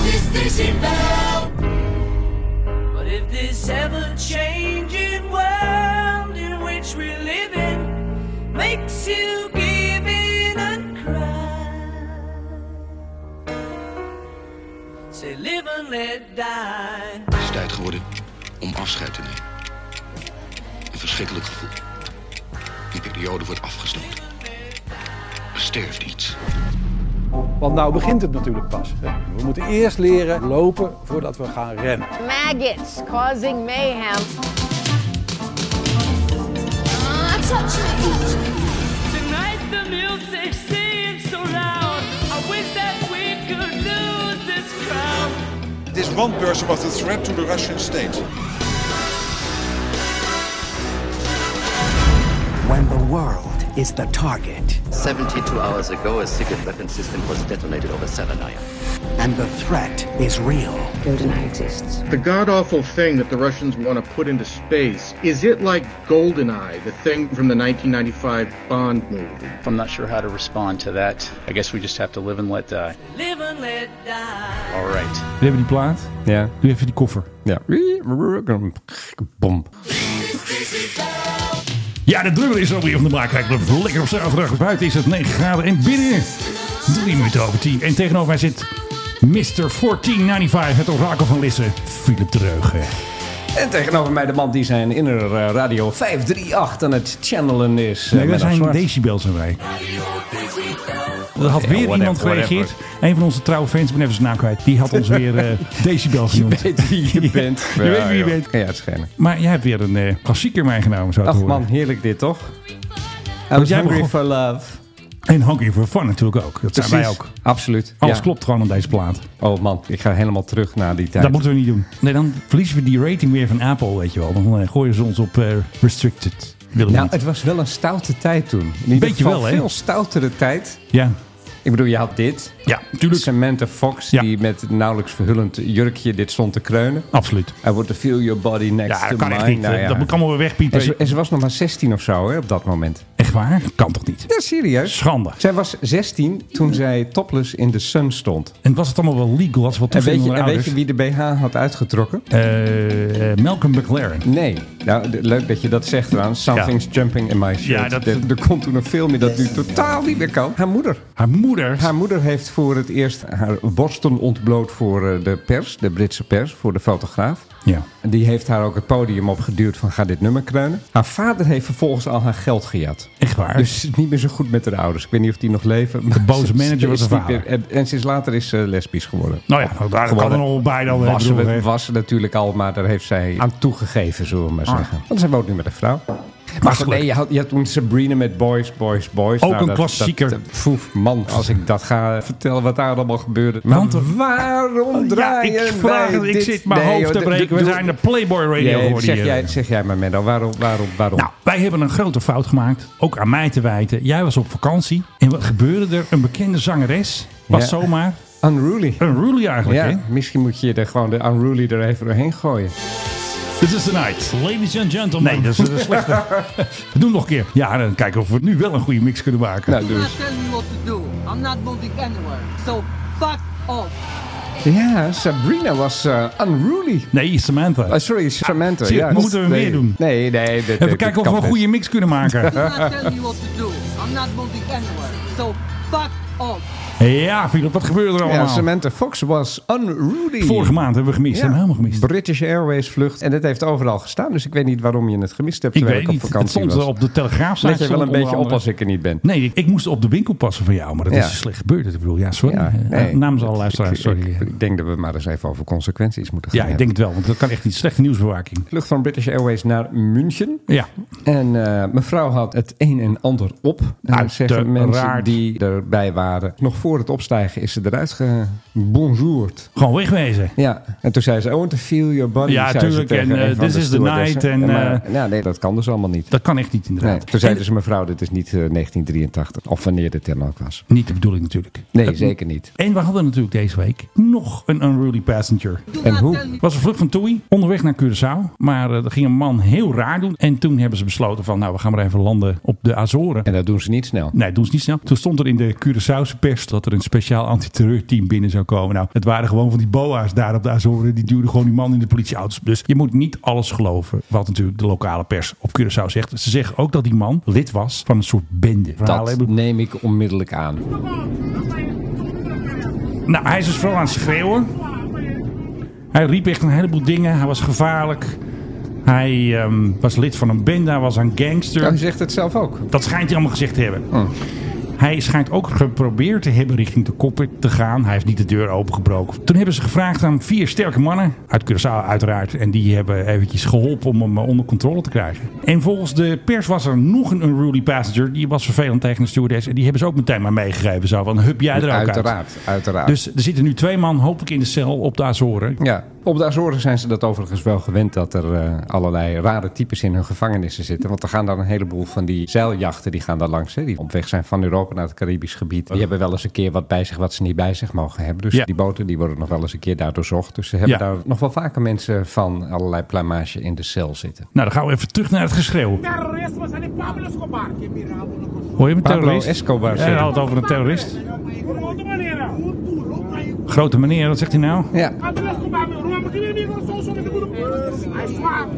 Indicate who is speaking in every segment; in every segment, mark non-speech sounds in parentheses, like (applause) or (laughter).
Speaker 1: chasing bell. But if this ever changing world in which we live in makes you give in and cry, say live and let die.
Speaker 2: Het is tijd geworden om afscheid te nemen. Een verschrikkelijk gevoel. Die periode wordt afgesloten. Er sterft iets.
Speaker 3: Want nou begint het natuurlijk pas. Hè. We moeten eerst leren lopen voordat we gaan rennen.
Speaker 4: maggots causing mayhem.
Speaker 1: Tonight the music seems so loud. I wish that we could lose this crowd.
Speaker 5: This one person was a threat to the Russian state.
Speaker 6: when the world is the target
Speaker 7: 72 hours ago, a secret weapon system was detonated over Savannah.
Speaker 6: and the threat is real.
Speaker 8: The god awful thing that the Russians want to put into space is it like GoldenEye, the thing from the 1995 Bond movie?
Speaker 9: I'm not sure how to respond to that. I guess we just have to live and let die.
Speaker 1: Live and let die.
Speaker 9: All right.
Speaker 10: We hebben die plaat.
Speaker 11: Ja.
Speaker 10: Doe even die koffer.
Speaker 11: Ja. Bom.
Speaker 10: Ja, de drummel is alweer van de Braakheidsclub. Lekker op zaterdag. Buiten is het 9 graden en binnen 3 minuten over 10. En tegenover mij zit Mr. 1495, het orakel van Lisse, Philip Dreugen.
Speaker 11: En tegenover mij de man die zijn inner eh, radio 538 aan het channelen is. eh,
Speaker 10: Nee, wij
Speaker 11: Menno
Speaker 10: zijn
Speaker 11: Zwart.
Speaker 10: decibel zijn wij. Er had
Speaker 11: Ja,
Speaker 10: weer
Speaker 11: whatever,
Speaker 10: iemand gereageerd. Een van onze trouwe fans, ik ben even zijn naam kwijt. Die
Speaker 11: (laughs)
Speaker 10: had ons weer eh decibel
Speaker 11: Je
Speaker 10: genoemd.
Speaker 11: weet wie je bent.
Speaker 10: (laughs) Je weet wie je bent.
Speaker 11: Kan je uitschijnen.
Speaker 10: Maar jij hebt weer een eh, klassieker meegenomen, zou ik
Speaker 11: Ach
Speaker 10: horen.
Speaker 11: man, heerlijk dit toch? I was
Speaker 10: jij
Speaker 11: hungry
Speaker 10: begon-
Speaker 11: for love.
Speaker 10: En Hungry for Fun natuurlijk ook. Dat zijn wij ook.
Speaker 11: Absoluut.
Speaker 10: Alles
Speaker 11: Ja.
Speaker 10: klopt gewoon aan deze plaat.
Speaker 11: Oh man, ik ga helemaal terug naar die tijd.
Speaker 10: Dat moeten we niet doen. Nee, dan verliezen we die rating weer van Apple, weet je wel. Dan eh, gooien ze ons op eh, restricted. Willen we
Speaker 11: nou,
Speaker 10: niet.
Speaker 11: het was wel een stoute tijd toen. In ieder
Speaker 10: Beetje
Speaker 11: geval
Speaker 10: wel, hè?
Speaker 11: veel stoutere tijd.
Speaker 10: Ja,
Speaker 11: Ik bedoel, je had dit.
Speaker 10: ja, tuurlijk.
Speaker 11: Samantha Fox,
Speaker 10: Ja.
Speaker 11: die met nauwelijks verhullend jurkje dit stond te kreunen.
Speaker 10: Absoluut.
Speaker 11: I want to feel your body next to
Speaker 10: Ja, dat kan
Speaker 11: mine.
Speaker 10: echt niet. eh,
Speaker 11: Nou ja.
Speaker 10: Dat moet ik allemaal weer
Speaker 11: en,
Speaker 10: wegpiepen.
Speaker 11: ze, en ze was nog maar 16 of zo hè, op dat moment.
Speaker 10: Echt waar? Kan toch niet?
Speaker 11: Ja, serieus.
Speaker 10: Schande.
Speaker 11: Zij was 16 toen zij topless in de sun stond.
Speaker 10: En was het allemaal wel legal? Was het wel
Speaker 11: En
Speaker 10: toestemming
Speaker 11: weet, je,
Speaker 10: van
Speaker 11: en
Speaker 10: de
Speaker 11: weet je wie
Speaker 10: ouders?
Speaker 11: de BH had uitgetrokken?
Speaker 10: Eh, eh, Malcolm McLaren.
Speaker 11: Nee. Nou, de- leuk dat je dat zegt trouwens. Something's jumping in my shirt.
Speaker 10: Ja, dat-
Speaker 11: er, er komt toen een film in dat nu totaal niet meer kan. Haar moeder.
Speaker 10: Haar moeder.
Speaker 11: Haar moeder heeft voor het eerst haar borsten ontbloot voor eh, de pers. De Britse pers, voor de fotograaf.
Speaker 10: Ja.
Speaker 11: En die heeft haar ook het podium opgeduwd van ga dit nummer kreunen. Haar vader heeft vervolgens al haar geld gejat.
Speaker 10: Echt waar?
Speaker 11: Dus het is niet meer zo goed met haar ouders. Ik weet niet of die nog leven. De
Speaker 10: boze manager was haar vader.
Speaker 11: En, en sinds later is ze lesbisch geworden.
Speaker 10: nou ja, nou, daar kan
Speaker 11: Geworden.
Speaker 10: er nog wel bij dan. hè,
Speaker 11: Was,
Speaker 10: bedoel, eh.
Speaker 11: ze-
Speaker 10: hè.
Speaker 11: was ze natuurlijk al, maar daar heeft zij aan toegegeven, zullen we maar zeggen. Want zij woont nu met een vrouw. Maar goed,
Speaker 10: gelukkig.
Speaker 11: nee, je, had, je had toen Sabrina met Boys, Boys, Boys. Nou,
Speaker 10: Ook een klassieker.
Speaker 11: Dat, poef, man, als ik dat ga eh, vertellen wat daar allemaal gebeurde. Maar
Speaker 10: Want-
Speaker 11: waarom
Speaker 10: Oh, ja,
Speaker 11: draaien
Speaker 10: ik vraag
Speaker 11: wij
Speaker 10: het. Ik
Speaker 11: dit?
Speaker 10: zit mijn
Speaker 11: Nee,
Speaker 10: hoofd
Speaker 11: joh,
Speaker 10: te
Speaker 11: d-
Speaker 10: breken.
Speaker 11: d-
Speaker 10: We
Speaker 11: doe-
Speaker 10: zijn de Playboy Radio
Speaker 11: Nee,
Speaker 10: geworden
Speaker 11: zeg,
Speaker 10: hier.
Speaker 11: jij, zeg jij maar, Menno, waarom, waarom, waarom?
Speaker 10: Nou, wij hebben een grote fout gemaakt. Ook aan mij te wijten. Jij was op vakantie. En wat gebeurde er? Een bekende zangeres was
Speaker 11: Ja.
Speaker 10: zomaar
Speaker 11: unruly.
Speaker 10: een rulie eigenlijk.
Speaker 11: Ja,
Speaker 10: Hè?
Speaker 11: misschien moet je er gewoon de unruly er even doorheen gooien.
Speaker 10: This is the night. Ladies and gentlemen. Nee, dat is dat is een (laughs) slechte. Doe hem nog een keer. Ja, dan kijken of we nu wel een goede mix kunnen maken.
Speaker 11: Nou, dus.
Speaker 1: Tell me what to do. I'm not moving anywhere. So fuck off.
Speaker 11: Ja, Sabrina was eh, unruly.
Speaker 10: Nee, Samantha.
Speaker 11: Ah, sorry, Samantha.
Speaker 10: zie je,
Speaker 11: ja,
Speaker 10: dat moeten we
Speaker 11: nee.
Speaker 10: weer doen.
Speaker 11: Nee, nee. Dit,
Speaker 10: Even
Speaker 11: dit
Speaker 10: kijken of
Speaker 11: kan
Speaker 10: we een
Speaker 11: best.
Speaker 10: goede mix kunnen
Speaker 11: (laughs)
Speaker 10: maken.
Speaker 1: not tell me what to do. I'm not moving anywhere. So fuck off.
Speaker 10: ja, Philip, wat gebeurde er
Speaker 11: Ja,
Speaker 10: allemaal?
Speaker 11: Samantha Fox was unruly.
Speaker 10: Vorige maand hebben we gemist.
Speaker 11: Ja.
Speaker 10: Hebben we helemaal gemist.
Speaker 11: British Airways vlucht. En dat heeft overal gestaan. Dus ik weet niet waarom je het gemist hebt
Speaker 10: Ik
Speaker 11: terwijl
Speaker 10: weet
Speaker 11: ik op
Speaker 10: niet. Het
Speaker 11: vakantie
Speaker 10: stond
Speaker 11: was.
Speaker 10: wel op de telegraaf.
Speaker 11: Let jij wel een beetje op als ik er niet ben.
Speaker 10: Nee, ik, ik moest op de winkel passen van jou, maar dat
Speaker 11: Ja.
Speaker 10: is dus slecht gebeurd. Ik bedoel, ja, sorry.
Speaker 11: Ja,
Speaker 10: Eh,
Speaker 11: nee.
Speaker 10: namens alle
Speaker 11: Ik-
Speaker 10: luisteraars,
Speaker 11: ik-
Speaker 10: sorry.
Speaker 11: Ik, ik denk dat we maar eens even over consequenties moeten gaan
Speaker 10: ja, ik denk het wel, want dat kan echt niet. Slechte nieuwsbewaking.
Speaker 11: Vlucht van British Airways naar München.
Speaker 10: Ja,
Speaker 11: En eh, mevrouw had het een en ander op. En dat zeggen mensen
Speaker 10: Uiteraard.
Speaker 11: die erbij waren. Nog voor het opstijgen is ze eruit gebonjourd.
Speaker 10: gewoon wegwezen.
Speaker 11: Ja, en toen zei ze, I want to feel your body.
Speaker 10: Ja,
Speaker 11: zei ze
Speaker 10: tuurlijk.
Speaker 11: tegen
Speaker 10: En, eh,
Speaker 11: een van
Speaker 10: this
Speaker 11: de
Speaker 10: is the
Speaker 11: stewardessen.
Speaker 10: night en, eh,
Speaker 11: maar, ja, nee, dat kan dus allemaal niet.
Speaker 10: Dat kan echt niet, inderdaad.
Speaker 11: Nee, toen zei
Speaker 10: En-
Speaker 11: dus mevrouw, dit is niet eh, 1983. Of wanneer dit dan ook was.
Speaker 10: Niet de bedoeling natuurlijk.
Speaker 11: Nee,
Speaker 10: Het-
Speaker 11: zeker niet.
Speaker 10: En we hadden natuurlijk deze week nog een unruly passenger.
Speaker 11: En hoe?
Speaker 10: Het was een vlucht van TUI, onderweg naar Curaçao. Maar eh, dat ging een man heel raar doen. En toen hebben ze besloten van, nou, we gaan maar even landen op de Azoren.
Speaker 11: En dat doen ze niet snel.
Speaker 10: Nee, doen ze niet snel. Toen stond er in de Curaçaose pers dat er een speciaal antiterreurteam binnen zou komen. Nou, het waren gewoon van die boa's daar op de Azoren. Die duwden gewoon die man in de politieauto's. Dus je moet niet alles geloven wat natuurlijk de lokale pers op Curaçao zegt. Ze zeggen ook dat die man lid was van een soort bende. Verhalen
Speaker 12: Dat
Speaker 10: hebben-
Speaker 12: neem ik onmiddellijk aan.
Speaker 10: Nou, hij is dus vooral aan het schreeuwen. Hij riep echt een heleboel dingen. Hij was gevaarlijk. Hij ehm, was lid van een bende. Hij was een gangster.
Speaker 11: Hij zegt het zelf ook.
Speaker 10: Dat schijnt hij allemaal gezegd te hebben.
Speaker 11: Oh.
Speaker 10: Hij schijnt ook geprobeerd te hebben richting de kopper te gaan. Hij heeft niet de deur opengebroken. Toen hebben ze gevraagd aan vier sterke mannen. Uit Curaçao uiteraard. En die hebben eventjes geholpen om hem eh, onder controle te krijgen. En volgens de pers was er nog een unruly passenger. Die was vervelend tegen de stewardess. En die hebben ze ook meteen maar meegegeven. Zo van, hup jij er ook uit.
Speaker 11: Uiteraard, uiteraard.
Speaker 10: Dus er zitten nu twee man hopelijk in de cel op de Azoren.
Speaker 11: Ja, op de Azoren zijn ze dat overigens wel gewend dat er eh, allerlei rare types in hun gevangenissen zitten. Want er gaan daar een heleboel van die zeiljachten die gaan daar langs. Hè, die op weg zijn van Europa naar het Caribisch gebied. Die hebben wel eens een keer wat bij zich wat ze niet bij zich mogen hebben. Dus
Speaker 10: Ja.
Speaker 11: die boten die worden nog wel eens een keer daar doorzocht. Dus ze hebben
Speaker 10: Ja.
Speaker 11: daar nog wel vaker mensen van allerlei plamage in de cel zitten.
Speaker 10: Nou, dan gaan we even terug naar het geschreeuw. Hoor je
Speaker 11: Pablo
Speaker 10: hem terrorist?
Speaker 11: Escobar
Speaker 10: Hij
Speaker 11: zeggen.
Speaker 10: had het over een terrorist. Grote meneer, wat zegt hij nou?
Speaker 11: Ja.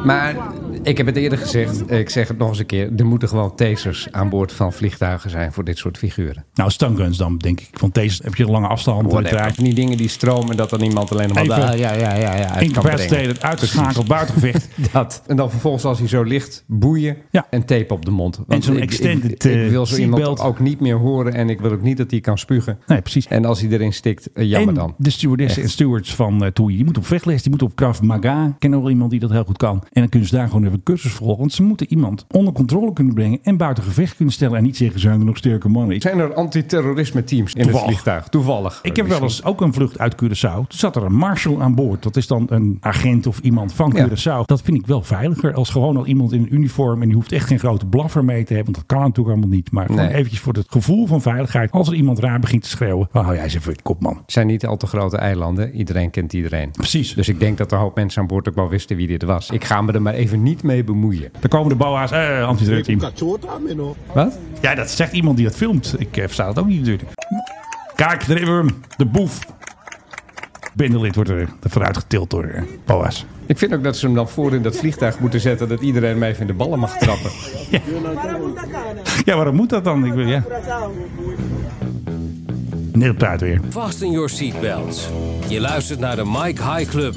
Speaker 11: Maar ik heb het eerder gezegd, ik zeg het nog eens een keer. Er moeten gewoon tasers aan boord van vliegtuigen zijn voor dit soort figuren.
Speaker 10: Nou, stunguns dan, denk ik. Want deze heb je lange afstand.
Speaker 11: Whatever. Van Die dingen die stromen, dat dan iemand alleen nog maar...
Speaker 10: Even
Speaker 11: Ah, ja, ja, ja, ja, uit kan
Speaker 10: incapacitated,
Speaker 11: brengen.
Speaker 10: uitgeschakeld, buitengevecht.
Speaker 11: Precies. dat. En dan vervolgens als hij zo ligt, boeien en tape op de mond. Want
Speaker 10: zo'n
Speaker 11: ik-
Speaker 10: extended,
Speaker 11: Ik, ik
Speaker 10: eh,
Speaker 11: wil zo iemand
Speaker 10: seatbelt.
Speaker 11: ook niet meer horen en ik wil ook niet dat hij kan spugen.
Speaker 10: Nee, precies.
Speaker 11: En als hij erin stikt, eh, (laughs) jammer
Speaker 10: en
Speaker 11: dan.
Speaker 10: de stewardessen
Speaker 11: Echt.
Speaker 10: en stewards van eh Toei, die moeten op vechtles, die moeten op Krav Maga. Ik ken nog wel iemand die dat heel goed kan. En dan kunnen ze daar gewoon even een cursus volgen. Want ze moeten iemand onder controle kunnen brengen en buiten gevecht kunnen stellen. En niet zeggen, zijn er nog sterke mannen? Ik
Speaker 11: Zijn er antiterrorisme teams in
Speaker 10: Toevallig.
Speaker 11: het vliegtuig? Toevallig.
Speaker 10: Ik heb wel eens ook een vlucht uit Curaçao. Toen zat er een marshal aan boord. Dat is dan een agent of iemand van
Speaker 11: Ja.
Speaker 10: Curaçao. Dat vind ik wel veiliger als gewoon al iemand in een uniform. En die hoeft echt geen grote blaffer mee te hebben. Want dat kan natuurlijk allemaal niet. Maar gewoon
Speaker 11: Nee.
Speaker 10: eventjes voor het gevoel van veiligheid. Als er iemand raar begint te schreeuwen. Oh, hou jij eens even je kop, man.
Speaker 11: Het zijn niet al te grote eilanden. Iedereen kent iedereen.
Speaker 10: Precies.
Speaker 11: Dus ik denk dat er een hoop mensen aan boord ook wel wisten wie dit was. Ik ga me er maar even niet mee bemoeien.
Speaker 10: Daar komen de boa's. Eh, antiterreurteam.
Speaker 11: Wat?
Speaker 10: Ja, dat zegt iemand die dat filmt. Ik eh, versta dat ook niet natuurlijk. Kijk, daar hebben we hem. De boef. Bendelid wordt er eh, er vooruit getild door eh, boa's.
Speaker 11: Ik vind ook dat ze hem dan voor in dat vliegtuig moeten zetten... dat iedereen hem even in de ballen mag trappen.
Speaker 10: Ja, waarom moet dat dan? Ik wil, ja. Net op tijd weer.
Speaker 13: Fasten your seatbelts. Je luistert naar de Mike High Club.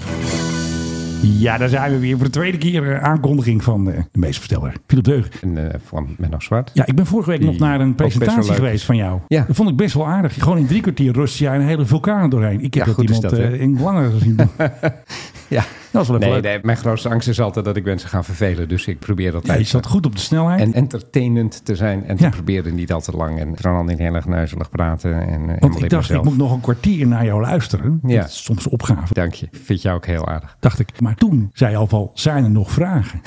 Speaker 10: Ja, daar zijn we weer voor de tweede keer eh, aankondiging van eh, de meesterverteller. Philip Deug.
Speaker 11: En eh, van Menno
Speaker 10: (laughs)
Speaker 11: Zwart.
Speaker 10: Ja, ik ben vorige week nog
Speaker 11: Die
Speaker 10: naar een
Speaker 11: ook best wel
Speaker 10: presentatie
Speaker 11: leuk.
Speaker 10: geweest van jou.
Speaker 11: Ja.
Speaker 10: Dat vond ik best wel aardig. Gewoon in drie kwartier rust jij een hele vulkaan doorheen. Ik
Speaker 11: Ja,
Speaker 10: heb dat
Speaker 11: goed is
Speaker 10: iemand
Speaker 11: dat, hè?
Speaker 10: eh, in langer
Speaker 11: (laughs)
Speaker 10: gezien doen.
Speaker 11: Ja.
Speaker 10: Dat is wel even
Speaker 11: nee,
Speaker 10: leuk.
Speaker 11: nee, mijn grootste angst is altijd dat ik mensen ga vervelen. Dus ik probeer
Speaker 10: Ja,
Speaker 11: altijd
Speaker 10: je zat goed op de snelheid.
Speaker 11: en entertainend te zijn. En
Speaker 10: Ja.
Speaker 11: te proberen niet al te lang. En vooral niet heel erg neuzelig praten. En, eh, helemaal
Speaker 10: Want
Speaker 11: in
Speaker 10: ik dacht,
Speaker 11: mezelf.
Speaker 10: ik moet nog een kwartier naar jou luisteren.
Speaker 11: Ja.
Speaker 10: Dat is soms een opgave,
Speaker 11: Dank je. Vind jou ook heel aardig.
Speaker 10: dacht ik. Maar toen zei je al van, zijn er nog vragen?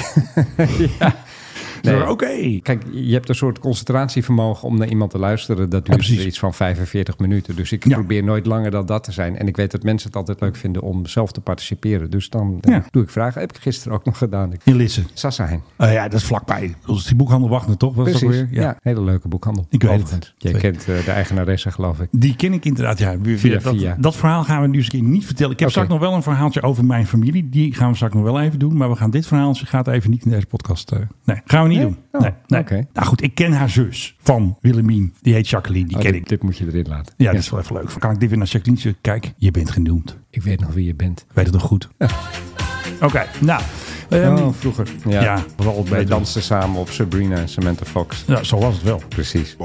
Speaker 11: Nee.
Speaker 10: Oké.
Speaker 11: Kijk, je hebt een soort concentratievermogen om naar iemand te luisteren. Dat duurt
Speaker 10: precies.
Speaker 11: iets van 45 minuten. Dus ik
Speaker 10: Ja.
Speaker 11: probeer nooit langer dan dat te zijn. En ik weet dat mensen het altijd leuk vinden om zelf te participeren. Dus dan eh,
Speaker 10: Ja.
Speaker 11: doe ik vragen. Heb ik gisteren ook nog gedaan. Ik...
Speaker 10: In Lissen.
Speaker 11: Sassa heen.
Speaker 10: Eh, ja, dat is vlakbij. Dus die boekhandel wachten toch? Was dat
Speaker 11: Precies.
Speaker 10: weer?
Speaker 11: Ja. hele leuke boekhandel.
Speaker 10: Ik weet het.
Speaker 11: Jij
Speaker 10: Zeker.
Speaker 11: kent eh, de eigenaresse, geloof ik.
Speaker 10: Die ken ik inderdaad, ja.
Speaker 11: Via,
Speaker 10: dat,
Speaker 11: via.
Speaker 10: dat verhaal gaan we nu eens een keer niet vertellen. Ik heb
Speaker 11: Oké.
Speaker 10: straks nog wel een verhaaltje over mijn familie. Die gaan we straks nog wel even doen. Maar we gaan dit verhaaltje gaat even niet in deze podcast. eh, nee, gaan we niet
Speaker 11: Nee?
Speaker 10: doen.
Speaker 11: Oh,
Speaker 10: nee, nee.
Speaker 11: oké.
Speaker 10: Nou goed, ik ken haar zus van Willemien. Die heet Jacqueline, die
Speaker 11: Oh,
Speaker 10: ken
Speaker 11: dit,
Speaker 10: ik.
Speaker 11: dit moet je erin laten.
Speaker 10: Ja, dus- dat is wel even leuk. Kan ik dit weer naar Jacqueline zeggen? Kijk, je bent genoemd.
Speaker 11: Ik weet nog wie je bent.
Speaker 10: Weet het nog goed? Oké, nou. ehm,
Speaker 11: oh, vroeger. Ja,
Speaker 10: ja, vooral bij
Speaker 11: wij
Speaker 10: dans.
Speaker 11: dansten samen op Sabrina en Samantha Fox.
Speaker 10: Ja, zo was het wel.
Speaker 11: Precies.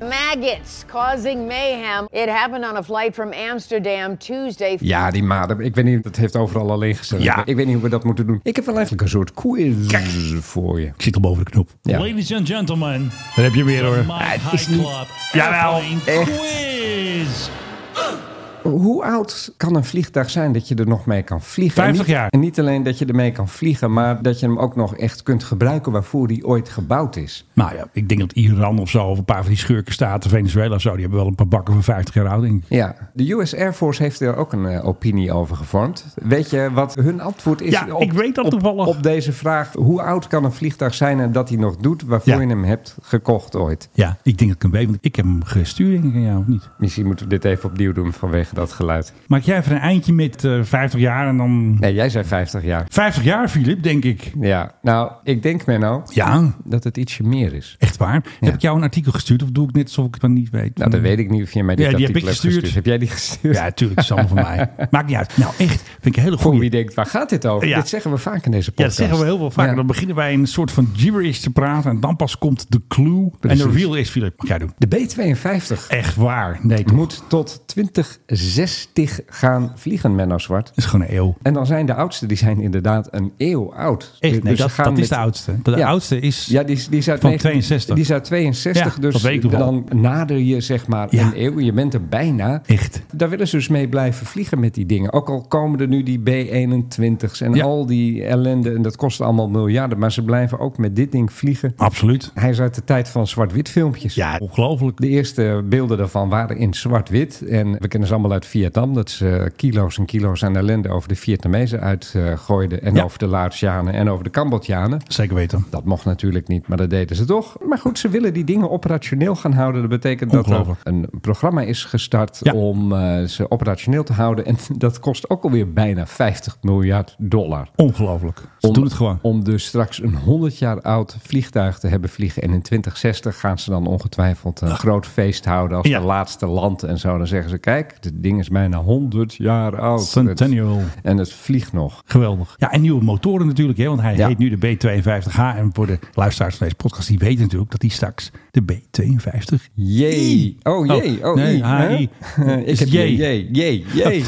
Speaker 4: Maggots causing mayhem. It happened on a flight from Amsterdam Tuesday.
Speaker 11: Ja, die maden. Ik weet niet, dat heeft overal alleen gestaan.
Speaker 10: Ja.
Speaker 11: Ik weet niet hoe we dat moeten doen. Ik heb wel eigenlijk een soort quiz voor je.
Speaker 10: Ik zit al boven de knop.
Speaker 11: Ja.
Speaker 14: Ladies and gentlemen,
Speaker 10: Daar heb je weer hoor.
Speaker 14: Mike High Club.
Speaker 10: Jawel,
Speaker 14: airplane
Speaker 10: echt.
Speaker 14: Quiz.
Speaker 11: Hoe oud kan een vliegtuig zijn dat je er nog mee kan vliegen?
Speaker 10: 50
Speaker 11: En niet-
Speaker 10: jaar.
Speaker 11: En niet alleen dat je ermee kan vliegen, maar dat je hem ook nog echt kunt gebruiken waarvoor hij ooit gebouwd is.
Speaker 10: Nou ja, ik denk dat Iran of zo, of een paar van die schurkenstaten, Venezuela of zo, die hebben wel een paar bakken van 50 jaar oud, denk ik.
Speaker 11: Ja, de US Air Force heeft er ook een eh, opinie over gevormd. Weet je wat hun antwoord is
Speaker 10: Ja,
Speaker 11: op,
Speaker 10: ik weet dat
Speaker 11: op,
Speaker 10: toevallig.
Speaker 11: op deze vraag? Hoe oud kan een vliegtuig zijn en dat hij nog doet waarvoor
Speaker 10: Ja.
Speaker 11: je hem hebt gekocht ooit?
Speaker 10: Ja, ik denk dat ik hem weet, want ik heb hem gestuurd, denk ik, aan jou, of niet?
Speaker 11: Misschien moeten we dit even opnieuw doen vanwege dat geluid.
Speaker 10: Maak jij even een eindje met eh, 50 jaar en dan...
Speaker 11: Nee, jij zei 50 jaar.
Speaker 10: 50 jaar, Filip, denk ik.
Speaker 11: Ja, nou, ik denk Menno
Speaker 10: Ja.
Speaker 11: dat het ietsje meer is.
Speaker 10: Echt waar? Heb ik jou een artikel gestuurd of doe ik net alsof ik het dan niet weet?
Speaker 11: Nou, dat weet ik niet of je mij dit
Speaker 10: Hmm. Ja, die heb
Speaker 11: artikel hebt
Speaker 10: ik gestuurd.
Speaker 11: gestuurd. Heb jij die gestuurd?
Speaker 10: Ja, natuurlijk, het is allemaal van mij.
Speaker 11: (laughs)
Speaker 10: Maakt niet uit. Nou, echt, vind ik een hele
Speaker 11: Voor
Speaker 10: goede.
Speaker 11: wie denkt, waar gaat dit over?
Speaker 10: Ja.
Speaker 11: Dit zeggen we vaak in deze
Speaker 10: Ja,
Speaker 11: podcast.
Speaker 10: dat zeggen we heel veel vaker.
Speaker 11: Ja.
Speaker 10: Dan beginnen wij in een soort van gibberish te praten. En dan pas komt de clue.
Speaker 11: Precies.
Speaker 10: En de reveal is, Filip, mag jij doen.
Speaker 11: De B-52
Speaker 10: Echt waar. Nee, toch?
Speaker 11: moet tot 2060 gaan vliegen, Menno Zwart.
Speaker 10: Dat is gewoon een eeuw.
Speaker 11: En dan zijn de oudste, die zijn inderdaad een eeuw oud.
Speaker 10: Echt, nee,
Speaker 11: Dus ze
Speaker 10: dat,
Speaker 11: gaan
Speaker 10: dat is
Speaker 11: met-
Speaker 10: de oudste. De
Speaker 11: Ja.
Speaker 10: oudste is...
Speaker 11: Ja, die is, die is uit
Speaker 10: Van
Speaker 11: 19
Speaker 10: 62.
Speaker 11: Die is uit 62,
Speaker 10: Ja,
Speaker 11: dus
Speaker 10: dat weet ik nog wel.
Speaker 11: dan nader je zeg maar
Speaker 10: Ja.
Speaker 11: een eeuw. Je bent er bijna.
Speaker 10: Echt.
Speaker 11: Daar willen ze dus mee blijven vliegen met die dingen. Ook al komen er nu die B-21's en
Speaker 10: Ja.
Speaker 11: al die ellende. En dat kost allemaal miljarden. Maar ze blijven ook met dit ding vliegen.
Speaker 10: Absoluut.
Speaker 11: Hij is uit de tijd van zwart-wit filmpjes.
Speaker 10: Ja, ongelooflijk.
Speaker 11: De eerste beelden daarvan waren in zwart-wit. En we kennen ze allemaal uit Vietnam. Dat ze eh, kilo's en kilo's aan ellende over de Vietnamezen uitgooiden. En
Speaker 10: Ja.
Speaker 11: over de Laotianen en over de Cambodjanen.
Speaker 10: Zeker weten.
Speaker 11: Dat mocht natuurlijk niet, maar dat deden ze toch. Maar goed, ze willen die dingen operationeel gaan houden. Dat betekent dat er
Speaker 10: Ongelooflijk.
Speaker 11: een programma is gestart
Speaker 10: Ja.
Speaker 11: om eh, ze operationeel te houden. En (laughs) dat kost ook alweer bijna 50 miljard dollar.
Speaker 10: Ongelooflijk. Ze
Speaker 11: Om-
Speaker 10: doen het gewoon.
Speaker 11: Om dus straks een 100 jaar oud vliegtuig te hebben vliegen. En in 2060 gaan ze dan ongetwijfeld een groot feest houden als
Speaker 10: Ja.
Speaker 11: de laatste land en zo. Dan zeggen ze, kijk, dit ding is bijna 100 jaar oud.
Speaker 10: Centennial.
Speaker 11: En het vliegt nog.
Speaker 10: Geweldig. Ja, en nieuwe motoren natuurlijk, hè, want hij
Speaker 11: Ja.
Speaker 10: heet nu de B52H. En voor de luisteraars van deze podcast, die weten natuurlijk dat hij straks de B52.
Speaker 11: Jee.
Speaker 10: I.
Speaker 11: Oh, jee. Oh,
Speaker 10: nee, Eh,
Speaker 11: I, hè? Dus
Speaker 10: HI.
Speaker 11: Ik
Speaker 10: Is
Speaker 11: heb
Speaker 10: het
Speaker 11: jee,
Speaker 10: jee.
Speaker 11: jee, jee,
Speaker 10: (laughs)
Speaker 11: jee.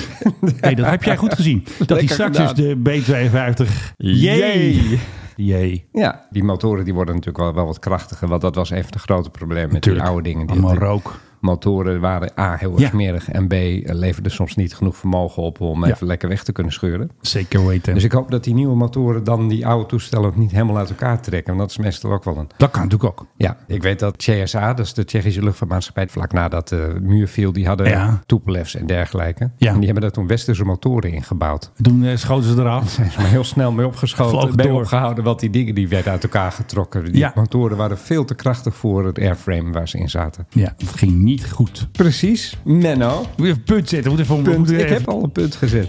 Speaker 10: Nee, dat heb jij goed
Speaker 11: (laughs)
Speaker 10: gezien. Dat hij
Speaker 11: Lekker
Speaker 10: straks
Speaker 11: gedaan.
Speaker 10: dus de B52. Jee.
Speaker 11: Jee.
Speaker 10: Jee.
Speaker 11: Ja, die motoren die worden natuurlijk wel, wel wat krachtiger. Want dat was een van de grote problemen met
Speaker 10: Natuurlijk.
Speaker 11: die oude dingen. Die
Speaker 10: Allemaal rook.
Speaker 11: Motoren waren A, heel erg
Speaker 10: Ja.
Speaker 11: smerig. En B, leverden soms niet genoeg vermogen op om
Speaker 10: Ja.
Speaker 11: even lekker weg te kunnen scheuren.
Speaker 10: Zeker weten.
Speaker 11: Dus ik hoop dat die nieuwe motoren dan die oude toestellen ook niet helemaal uit elkaar trekken. Want dat is meestal ook wel een...
Speaker 10: dat kan natuurlijk ook.
Speaker 11: Ja, ik weet dat CSA, dat is de Tsjechische luchtvaartmaatschappij, vlak nadat de muur viel, die hadden
Speaker 10: Ja.
Speaker 11: Tupolevs en dergelijke.
Speaker 10: Ja.
Speaker 11: En die hebben daar toen westerse motoren ingebouwd.
Speaker 10: Toen eh, schoten ze eraf.
Speaker 11: Daar zijn ze maar heel snel mee opgeschoten.
Speaker 10: Vloog
Speaker 11: Ben
Speaker 10: door.
Speaker 11: opgehouden, want die dingen die werden uit elkaar getrokken. Die
Speaker 10: Ja.
Speaker 11: motoren waren veel te krachtig voor het airframe waar ze in zaten.
Speaker 10: Ja, het ging niet goed.
Speaker 11: Precies. Menno.
Speaker 10: Moet even een punt zetten. Moet even,
Speaker 11: Punt.
Speaker 10: moet
Speaker 11: Ik
Speaker 10: even-
Speaker 11: heb al een punt gezet.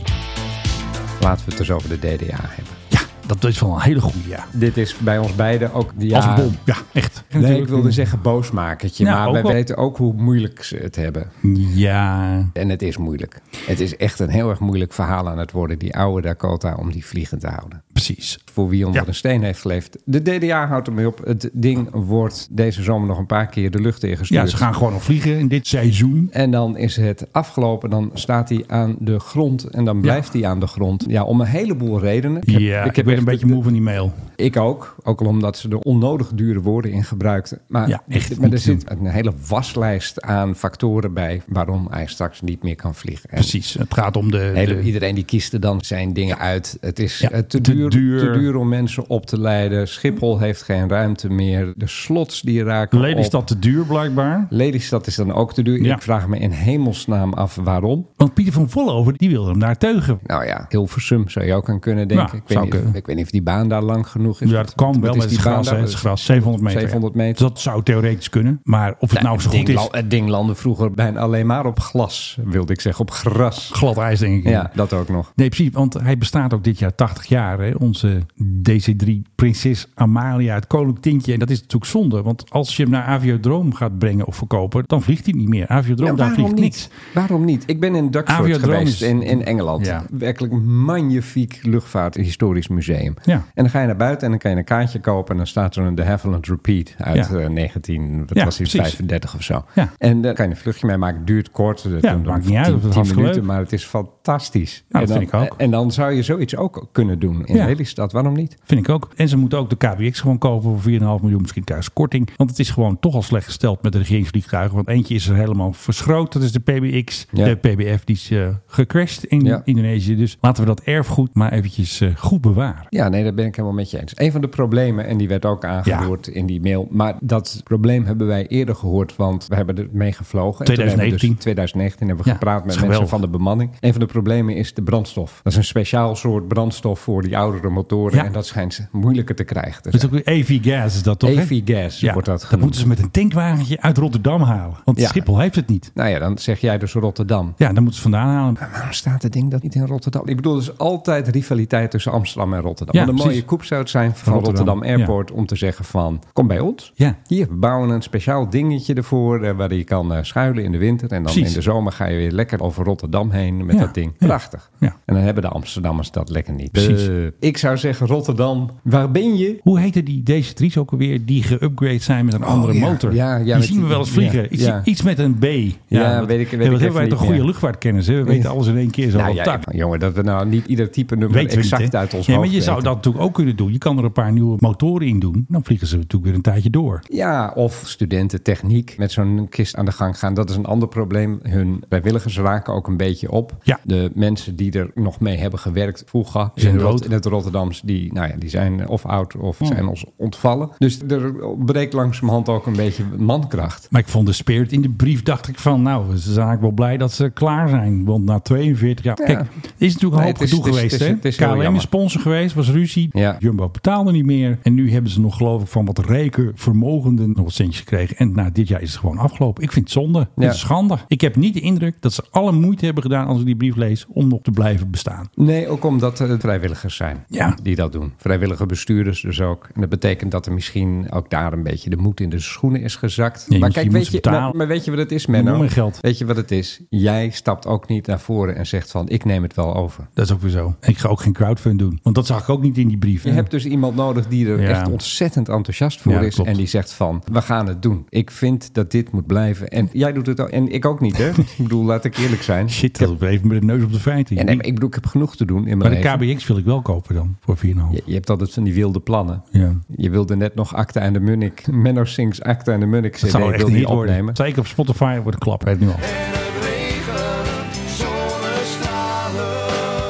Speaker 11: Laten we het dus over de DDA hebben.
Speaker 10: Ja, dat is wel een hele goede, ja.
Speaker 11: Dit is bij ons beiden ook... Ja,
Speaker 10: Als een bom. Ja, echt.
Speaker 11: Nee, ik wilde zeggen boosmakertje.
Speaker 10: Nou,
Speaker 11: maar
Speaker 10: ook
Speaker 11: wij
Speaker 10: wel.
Speaker 11: weten ook hoe moeilijk ze het hebben.
Speaker 10: Ja.
Speaker 11: En het is moeilijk. Het is echt een heel erg moeilijk verhaal aan het worden, die oude Dakota, om die vliegend te houden.
Speaker 10: Precies.
Speaker 11: voor wie onder
Speaker 10: Ja.
Speaker 11: een steen heeft geleefd. De DDA houdt ermee op. Het ding wordt deze zomer nog een paar keer de lucht ingestuurd.
Speaker 10: Ja, ze gaan gewoon nog vliegen in dit seizoen.
Speaker 11: En dan is het afgelopen. Dan staat hij aan de grond. En dan blijft hij aan de grond. Ja, om een heleboel redenen. Ik heb-
Speaker 10: Ja, ik,
Speaker 11: heb
Speaker 10: ben
Speaker 11: echt
Speaker 10: een beetje
Speaker 11: de-
Speaker 10: moe van die mail.
Speaker 11: Ik ook. Ook al omdat ze er onnodig dure woorden in gebruikten. Maar,
Speaker 10: Ja, echt
Speaker 11: maar er
Speaker 10: niet te
Speaker 11: zit een hele waslijst aan factoren bij... waarom hij straks niet meer kan vliegen. En
Speaker 10: Precies. Het gaat om de...
Speaker 11: Hele-
Speaker 10: de-
Speaker 11: iedereen die kiest er dan zijn dingen uit. Het is
Speaker 10: Eh, Ja,
Speaker 11: eh, te,
Speaker 10: te
Speaker 11: duur,
Speaker 10: duur.
Speaker 11: te duur om mensen op te leiden. Schiphol heeft geen ruimte meer. De slots die raken op.
Speaker 10: Lelystad te duur blijkbaar.
Speaker 11: Lelystad is dan ook te duur.
Speaker 10: Ja.
Speaker 11: Ik vraag me in hemelsnaam af waarom.
Speaker 10: Want Pieter van Vollover, die wilde hem daar teugen.
Speaker 11: Nou ja, Hilversum zou je ook aan kunnen denken.
Speaker 10: Ja,
Speaker 11: ik, weet
Speaker 10: zou
Speaker 11: niet,
Speaker 10: kunnen.
Speaker 11: ik weet niet of die baan daar lang genoeg is.
Speaker 10: Ja, dat kan
Speaker 11: Wat
Speaker 10: wel
Speaker 11: Dus is
Speaker 10: met het
Speaker 11: die
Speaker 10: is
Speaker 11: baan
Speaker 10: gras, hè.
Speaker 11: daar?
Speaker 10: Het is gras, 700 meter.
Speaker 11: 700 meter.
Speaker 10: Dus dat zou theoretisch kunnen. Maar of het nou zo
Speaker 11: het,
Speaker 10: goed
Speaker 11: ding
Speaker 10: is,
Speaker 11: la- het ding landde vroeger bijna alleen maar op glas, wilde ik zeggen. Op gras.
Speaker 10: glad ijs denk ik.
Speaker 11: Ja, dat ook nog.
Speaker 10: Nee, precies, want hij bestaat ook dit jaar 80 jaar. Hè? Onze DC-3 prinses Amalia, het koninklijk tintje. En dat is natuurlijk zonde, want als je hem naar Aviodroom gaat brengen of verkopen, dan vliegt hij niet meer. Aviodroom,
Speaker 11: Ja,
Speaker 10: daar vliegt
Speaker 11: niet?
Speaker 10: niks.
Speaker 11: Waarom niet? Ik ben in Duxford
Speaker 10: Aviodrome
Speaker 11: geweest
Speaker 10: is-
Speaker 11: in, in Engeland.
Speaker 10: Ja.
Speaker 11: Werkelijk een magnifiek luchtvaarthistorisch museum.
Speaker 10: Ja.
Speaker 11: En dan ga je naar buiten en dan kan je een kaartje kopen... en dan staat er een De Havilland Repeat uit
Speaker 10: Ja.
Speaker 11: eh, 19... dat
Speaker 10: Ja,
Speaker 11: was in
Speaker 10: precies.
Speaker 11: 35 of zo.
Speaker 10: Ja.
Speaker 11: En daar kan je een vluchtje mee maken. Duurt kort. Dat
Speaker 10: Ja,
Speaker 11: doen
Speaker 10: maakt
Speaker 11: dan
Speaker 10: niet uit of het
Speaker 11: 10
Speaker 10: hartstikke
Speaker 11: minuten,
Speaker 10: leuk.
Speaker 11: maar het is fantastisch.
Speaker 10: Ja,
Speaker 11: en
Speaker 10: dat
Speaker 11: dan,
Speaker 10: vind ik ook.
Speaker 11: En dan zou je zoiets ook kunnen doen in
Speaker 10: Ja,
Speaker 11: Lelystad, waarom niet?
Speaker 10: Vind ik ook. En ze moeten ook de KBX gewoon kopen voor 4,5 miljoen, misschien thuis korting. Want het is gewoon toch al slecht gesteld met de regeringsvliegtuigen. Want eentje is er helemaal verschroot. Dat is de PBX.
Speaker 11: Ja.
Speaker 10: De PBF die is eh, gecrashed in
Speaker 11: Ja.
Speaker 10: Indonesië. Dus laten we dat erfgoed maar eventjes eh, goed bewaren.
Speaker 11: Ja, nee, daar ben ik helemaal met je eens. Een van de problemen, en die werd ook aangeroerd in die mail, maar dat probleem hebben wij eerder gehoord, want we hebben er mee gevlogen. En toen hebben we dus-
Speaker 10: 2019.
Speaker 11: 2019 hebben we
Speaker 10: Ja,
Speaker 11: gepraat met
Speaker 10: is geweldig.
Speaker 11: mensen van de bemanning. Een van de problemen is de brandstof. Dat is een speciaal soort brandstof voor die oudere motoren
Speaker 10: Ja.
Speaker 11: en dat schijnt ze moeilijker te krijgen. Dus te
Speaker 10: Dat is
Speaker 11: zijn.
Speaker 10: ook weer AV-gas is dat toch? hè?
Speaker 11: AV-gas
Speaker 10: Ja,
Speaker 11: E wordt dat
Speaker 10: Dat
Speaker 11: genoemd.
Speaker 10: moeten ze met een tankwagentje uit Rotterdam halen. Want
Speaker 11: Ja.
Speaker 10: Schiphol heeft het niet.
Speaker 11: Nou ja, dan zeg jij dus Rotterdam.
Speaker 10: Ja, dan moeten ze vandaan halen.
Speaker 11: Waarom staat het ding dat niet in Rotterdam? Ik bedoel, er is altijd rivaliteit tussen Amsterdam en Rotterdam.
Speaker 10: Ja,
Speaker 11: Wat een mooie
Speaker 10: precies.
Speaker 11: koep zou het zijn van
Speaker 10: Rotterdam,
Speaker 11: Rotterdam, Airport om te zeggen van... kom bij ons.
Speaker 10: Ja.
Speaker 11: Hier, we bouwen een speciaal dingetje ervoor... eh, waar je kan eh, schuilen in de winter. En dan
Speaker 10: Precies.
Speaker 11: in de zomer ga je weer lekker over Rotterdam heen met
Speaker 10: Ja,
Speaker 11: dat ding.
Speaker 10: ja.
Speaker 11: Prachtig.
Speaker 10: Ja.
Speaker 11: En dan hebben de Amsterdammers dat lekker niet.
Speaker 10: Precies.
Speaker 11: Eh, ik zou zeggen, Rotterdam, waar ben je?
Speaker 10: Hoe heette die DC-3's ook alweer? Die geüpgrade zijn met een andere
Speaker 11: Oh, ja.
Speaker 10: motor.
Speaker 11: Ja, ja,
Speaker 10: die
Speaker 11: met
Speaker 10: zien we
Speaker 11: die-
Speaker 10: wel eens vliegen.
Speaker 11: ja,
Speaker 10: Ik zie
Speaker 11: ja.
Speaker 10: iets met een B. Ja,
Speaker 11: Ja,
Speaker 10: wat-
Speaker 11: weet ik- weet
Speaker 10: ja,
Speaker 11: ik
Speaker 10: wat
Speaker 11: even
Speaker 10: hebben wij
Speaker 11: niet
Speaker 10: toch goede
Speaker 11: meer.
Speaker 10: luchtvaartkennis. Hè? We weten alles in één keer zo
Speaker 11: Nou,
Speaker 10: op
Speaker 11: ja,
Speaker 10: tak.
Speaker 11: jongen, dat we nou niet ieder type nummer
Speaker 10: Weten we niet,
Speaker 11: exact
Speaker 10: hè?
Speaker 11: uit ons
Speaker 10: Ja, maar
Speaker 11: hoofd
Speaker 10: je zou
Speaker 11: weten.
Speaker 10: dat natuurlijk ook kunnen doen. Je kan er een paar nieuwe motoren in doen. Dan vliegen ze natuurlijk weer een tijdje door.
Speaker 11: Ja, of studenten techniek met zo'n kist aan de gang gaan. Dat is een ander probleem. Hun vrijwilligers raken ook een beetje op.
Speaker 10: Ja.
Speaker 11: De mensen die er nog mee hebben gewerkt vroeger
Speaker 10: Zijn
Speaker 11: in, Rot-
Speaker 10: dood.
Speaker 11: in het Rotterdams, die, nou ja, die zijn of oud of
Speaker 10: Hmm.
Speaker 11: zijn ons ontvallen. Dus er breekt langzamerhand ook een beetje mankracht.
Speaker 10: Maar ik vond de spirit in de brief, dacht ik van... nou, ze zijn eigenlijk wel blij dat ze klaar zijn. Want na 42 jaar...
Speaker 11: Ja.
Speaker 10: Kijk, er is natuurlijk een
Speaker 11: Nee,
Speaker 10: hoop
Speaker 11: het is-
Speaker 10: gedoe
Speaker 11: het is-
Speaker 10: geweest,
Speaker 11: het is- het is
Speaker 10: hè?
Speaker 11: heel
Speaker 10: KLM is
Speaker 11: jammer.
Speaker 10: sponsor geweest, was ruzie.
Speaker 11: Ja.
Speaker 10: Jumbo betaalde niet meer. En nu hebben ze nog, geloof ik, van wat rijke vermogenden... nog wat centjes gekregen. En na dit jaar is het gewoon afgelopen. Ik vind het zonde. Het
Speaker 11: Ja.
Speaker 10: is schande. Ik heb niet de indruk dat ze alle moeite hebben gedaan... als ik die brief lees, om nog te blijven bestaan.
Speaker 11: Nee, ook omdat het vrijwilligers zijn
Speaker 10: Ja.
Speaker 11: die dat doen. Vrijwillige bestuurders dus ook. En dat betekent dat er misschien ook daar een beetje de moed in de schoenen is gezakt. maar
Speaker 10: je moet- je
Speaker 11: kijk,
Speaker 10: moet
Speaker 11: weet
Speaker 10: ze
Speaker 11: je,
Speaker 10: betalen.
Speaker 11: nou, maar weet je wat het is, Menno?
Speaker 10: Nog meer geld.
Speaker 11: Weet je wat het is? Jij stapt ook niet naar voren en zegt van, ik neem het wel over.
Speaker 10: Dat is ook weer zo. En ik ga ook geen crowdfund doen. Want dat zag ik ook niet in die brief.
Speaker 11: Je hebt dus iemand nodig die er
Speaker 10: Ja.
Speaker 11: echt ontzettend enthousiast voor
Speaker 10: Ja,
Speaker 11: is.
Speaker 10: klopt.
Speaker 11: En die zegt van, we gaan het doen. Ik vind dat dit moet blijven. En jij doet het ook. En ik ook niet,
Speaker 10: (laughs)
Speaker 11: hè? ik bedoel, laat ik eerlijk zijn.
Speaker 10: Shit, dat is even met de neus op de feiten.
Speaker 11: Ja, nee, maar ik bedoel, ik heb genoeg te doen in mijn
Speaker 10: maar de
Speaker 11: leven.
Speaker 10: KBX wil ik wel kopen dan, voor 4,5.
Speaker 11: Je, je hebt altijd van die wilde plannen.
Speaker 10: Ja.
Speaker 11: Je wilde net nog Acta en de Munnik, Menno Sings Acta en de Munnik CD
Speaker 10: Dat zou echt
Speaker 11: wilde
Speaker 10: een
Speaker 11: je
Speaker 10: hit worden.
Speaker 11: opnemen.
Speaker 10: Zeker op Spotify wordt een klap, heeft nu al.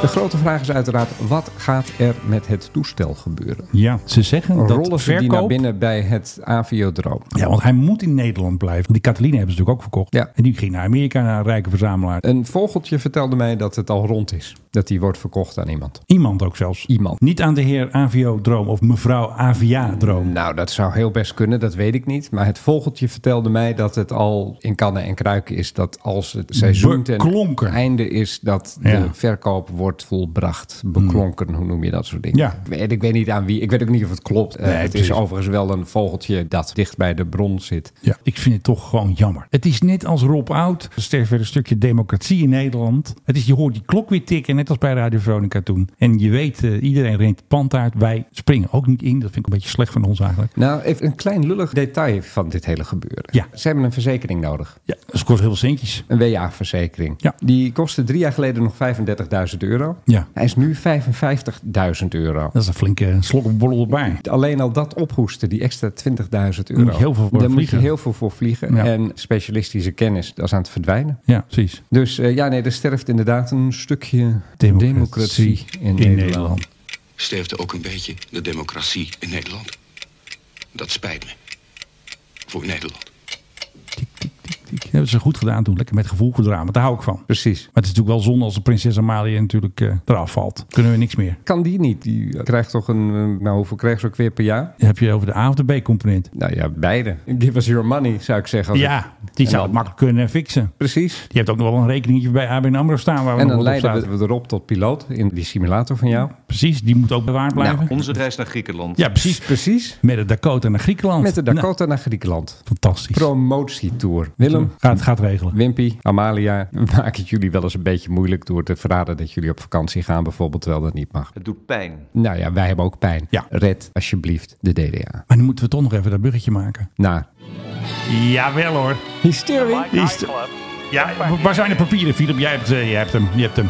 Speaker 11: De grote vraag is uiteraard, wat gaat er met het toestel gebeuren?
Speaker 10: Ja, ze zeggen
Speaker 11: Rollen
Speaker 10: dat
Speaker 11: ze die naar
Speaker 10: verkoop...
Speaker 11: binnen bij het aviodroom?
Speaker 10: Ja, want hij moet in Nederland blijven. Want die Catalina hebben ze natuurlijk ook verkocht.
Speaker 11: Ja.
Speaker 10: En die ging naar Amerika, naar een rijke verzamelaar.
Speaker 11: Een vogeltje vertelde mij dat het al rond is. Dat die wordt verkocht aan iemand.
Speaker 10: Iemand ook zelfs.
Speaker 11: Iemand.
Speaker 10: Niet aan de heer Avio-droom of mevrouw Avia-droom.
Speaker 11: Nou, dat zou heel best kunnen, dat weet ik niet. Maar het vogeltje vertelde mij dat het al in kannen en kruiken is. Dat als het seizoen
Speaker 10: Beklonken.
Speaker 11: ten einde is, dat de
Speaker 10: Ja.
Speaker 11: verkoop wordt volbracht. Beklonken, hoe noem je dat soort dingen?
Speaker 10: Ja.
Speaker 11: Ik, weet, ik weet niet aan wie, ik weet ook niet of het klopt. Eh,
Speaker 10: Nee,
Speaker 11: het
Speaker 10: precies.
Speaker 11: is overigens wel een vogeltje dat dicht bij de bron zit.
Speaker 10: Ja. Ik vind het toch gewoon jammer. Het is net als Rob Oud. Er sterft weer een stukje democratie in Nederland. Het is, je hoort die klok weer tikken, net als bij Radio Veronica toen. En je weet, eh, iedereen rent het pand uit. Wij springen ook niet in. Dat vind ik een beetje slecht van ons eigenlijk.
Speaker 11: Nou, even een klein lullig detail van dit hele gebeuren.
Speaker 10: Ja.
Speaker 11: Ze hebben een verzekering nodig.
Speaker 10: Ja, dat kost heel veel centjes.
Speaker 11: Een WA-verzekering.
Speaker 10: Ja.
Speaker 11: Die kostte drie jaar geleden nog 35.000 euro.
Speaker 10: Ja.
Speaker 11: Hij is nu 55.000 euro.
Speaker 10: Dat is een flinke slokkenborrel erbij.
Speaker 11: Alleen al dat ophoesten, die extra 20.000 euro.
Speaker 10: moet je heel veel
Speaker 11: Daar
Speaker 10: voor
Speaker 11: moet je
Speaker 10: vliegen.
Speaker 11: heel veel voor vliegen.
Speaker 10: Ja.
Speaker 11: En specialistische kennis, dat is aan het verdwijnen.
Speaker 10: Ja, precies.
Speaker 11: Dus eh, ja, nee, er sterft inderdaad een stukje
Speaker 10: Democratie
Speaker 11: democratie, in, Nederland.
Speaker 2: sterft er ook een beetje de democratie in Nederland. Dat spijt me. Voor Nederland.
Speaker 10: Tik, tik, tik, tik. Dat hebben ze goed gedaan toen. Lekker met gevoel gedraaid. Want daar hou ik van.
Speaker 11: Precies.
Speaker 10: Maar het is natuurlijk wel zonde als de prinses Amalia natuurlijk eh, eraf valt. Kunnen we niks meer.
Speaker 11: Kan die niet? Die krijgt toch een, eh, nou hoeveel krijgt ze ook weer per jaar?
Speaker 10: Dan heb je over de A of de B component.
Speaker 11: Nou ja, beide. Give us your money, zou ik zeggen. Als ik-
Speaker 10: Ja, die
Speaker 11: En
Speaker 10: zou
Speaker 11: dan-
Speaker 10: het makkelijk kunnen fixen.
Speaker 11: Precies.
Speaker 10: Je hebt ook nog wel een rekeningetje bij ABN AMRO staan. Waar we
Speaker 11: En
Speaker 10: nog
Speaker 11: dan
Speaker 10: wat op staan.
Speaker 11: leiden we erop tot piloot in die simulator van jou.
Speaker 10: Precies, die moet ook bewaard
Speaker 11: Nou.
Speaker 10: blijven.
Speaker 12: Onze reis naar Griekenland.
Speaker 10: ja, precies.
Speaker 11: Precies.
Speaker 10: Met de Dakota naar Griekenland.
Speaker 11: Met de
Speaker 10: Nou,
Speaker 11: Dakota naar Griekenland.
Speaker 10: fantastisch.
Speaker 11: Promotietour. Willem,
Speaker 10: gaat, gaat regelen.
Speaker 11: Wimpy, Amalia, (laughs) we maken het jullie wel eens een beetje moeilijk door te verraden dat jullie op vakantie gaan, bijvoorbeeld, terwijl dat niet mag.
Speaker 12: Het doet pijn.
Speaker 11: Nou ja, wij hebben ook pijn.
Speaker 10: Ja.
Speaker 11: Red alsjeblieft de DDA.
Speaker 10: Maar nu moeten we toch nog even dat buggetje maken.
Speaker 11: Nou,
Speaker 10: Jawel hoor.
Speaker 12: Oh
Speaker 11: hysterie.
Speaker 10: Is- Ja, waar zijn de papieren, Philip? Jij hebt, eh, jij hebt hem. Je hebt hem.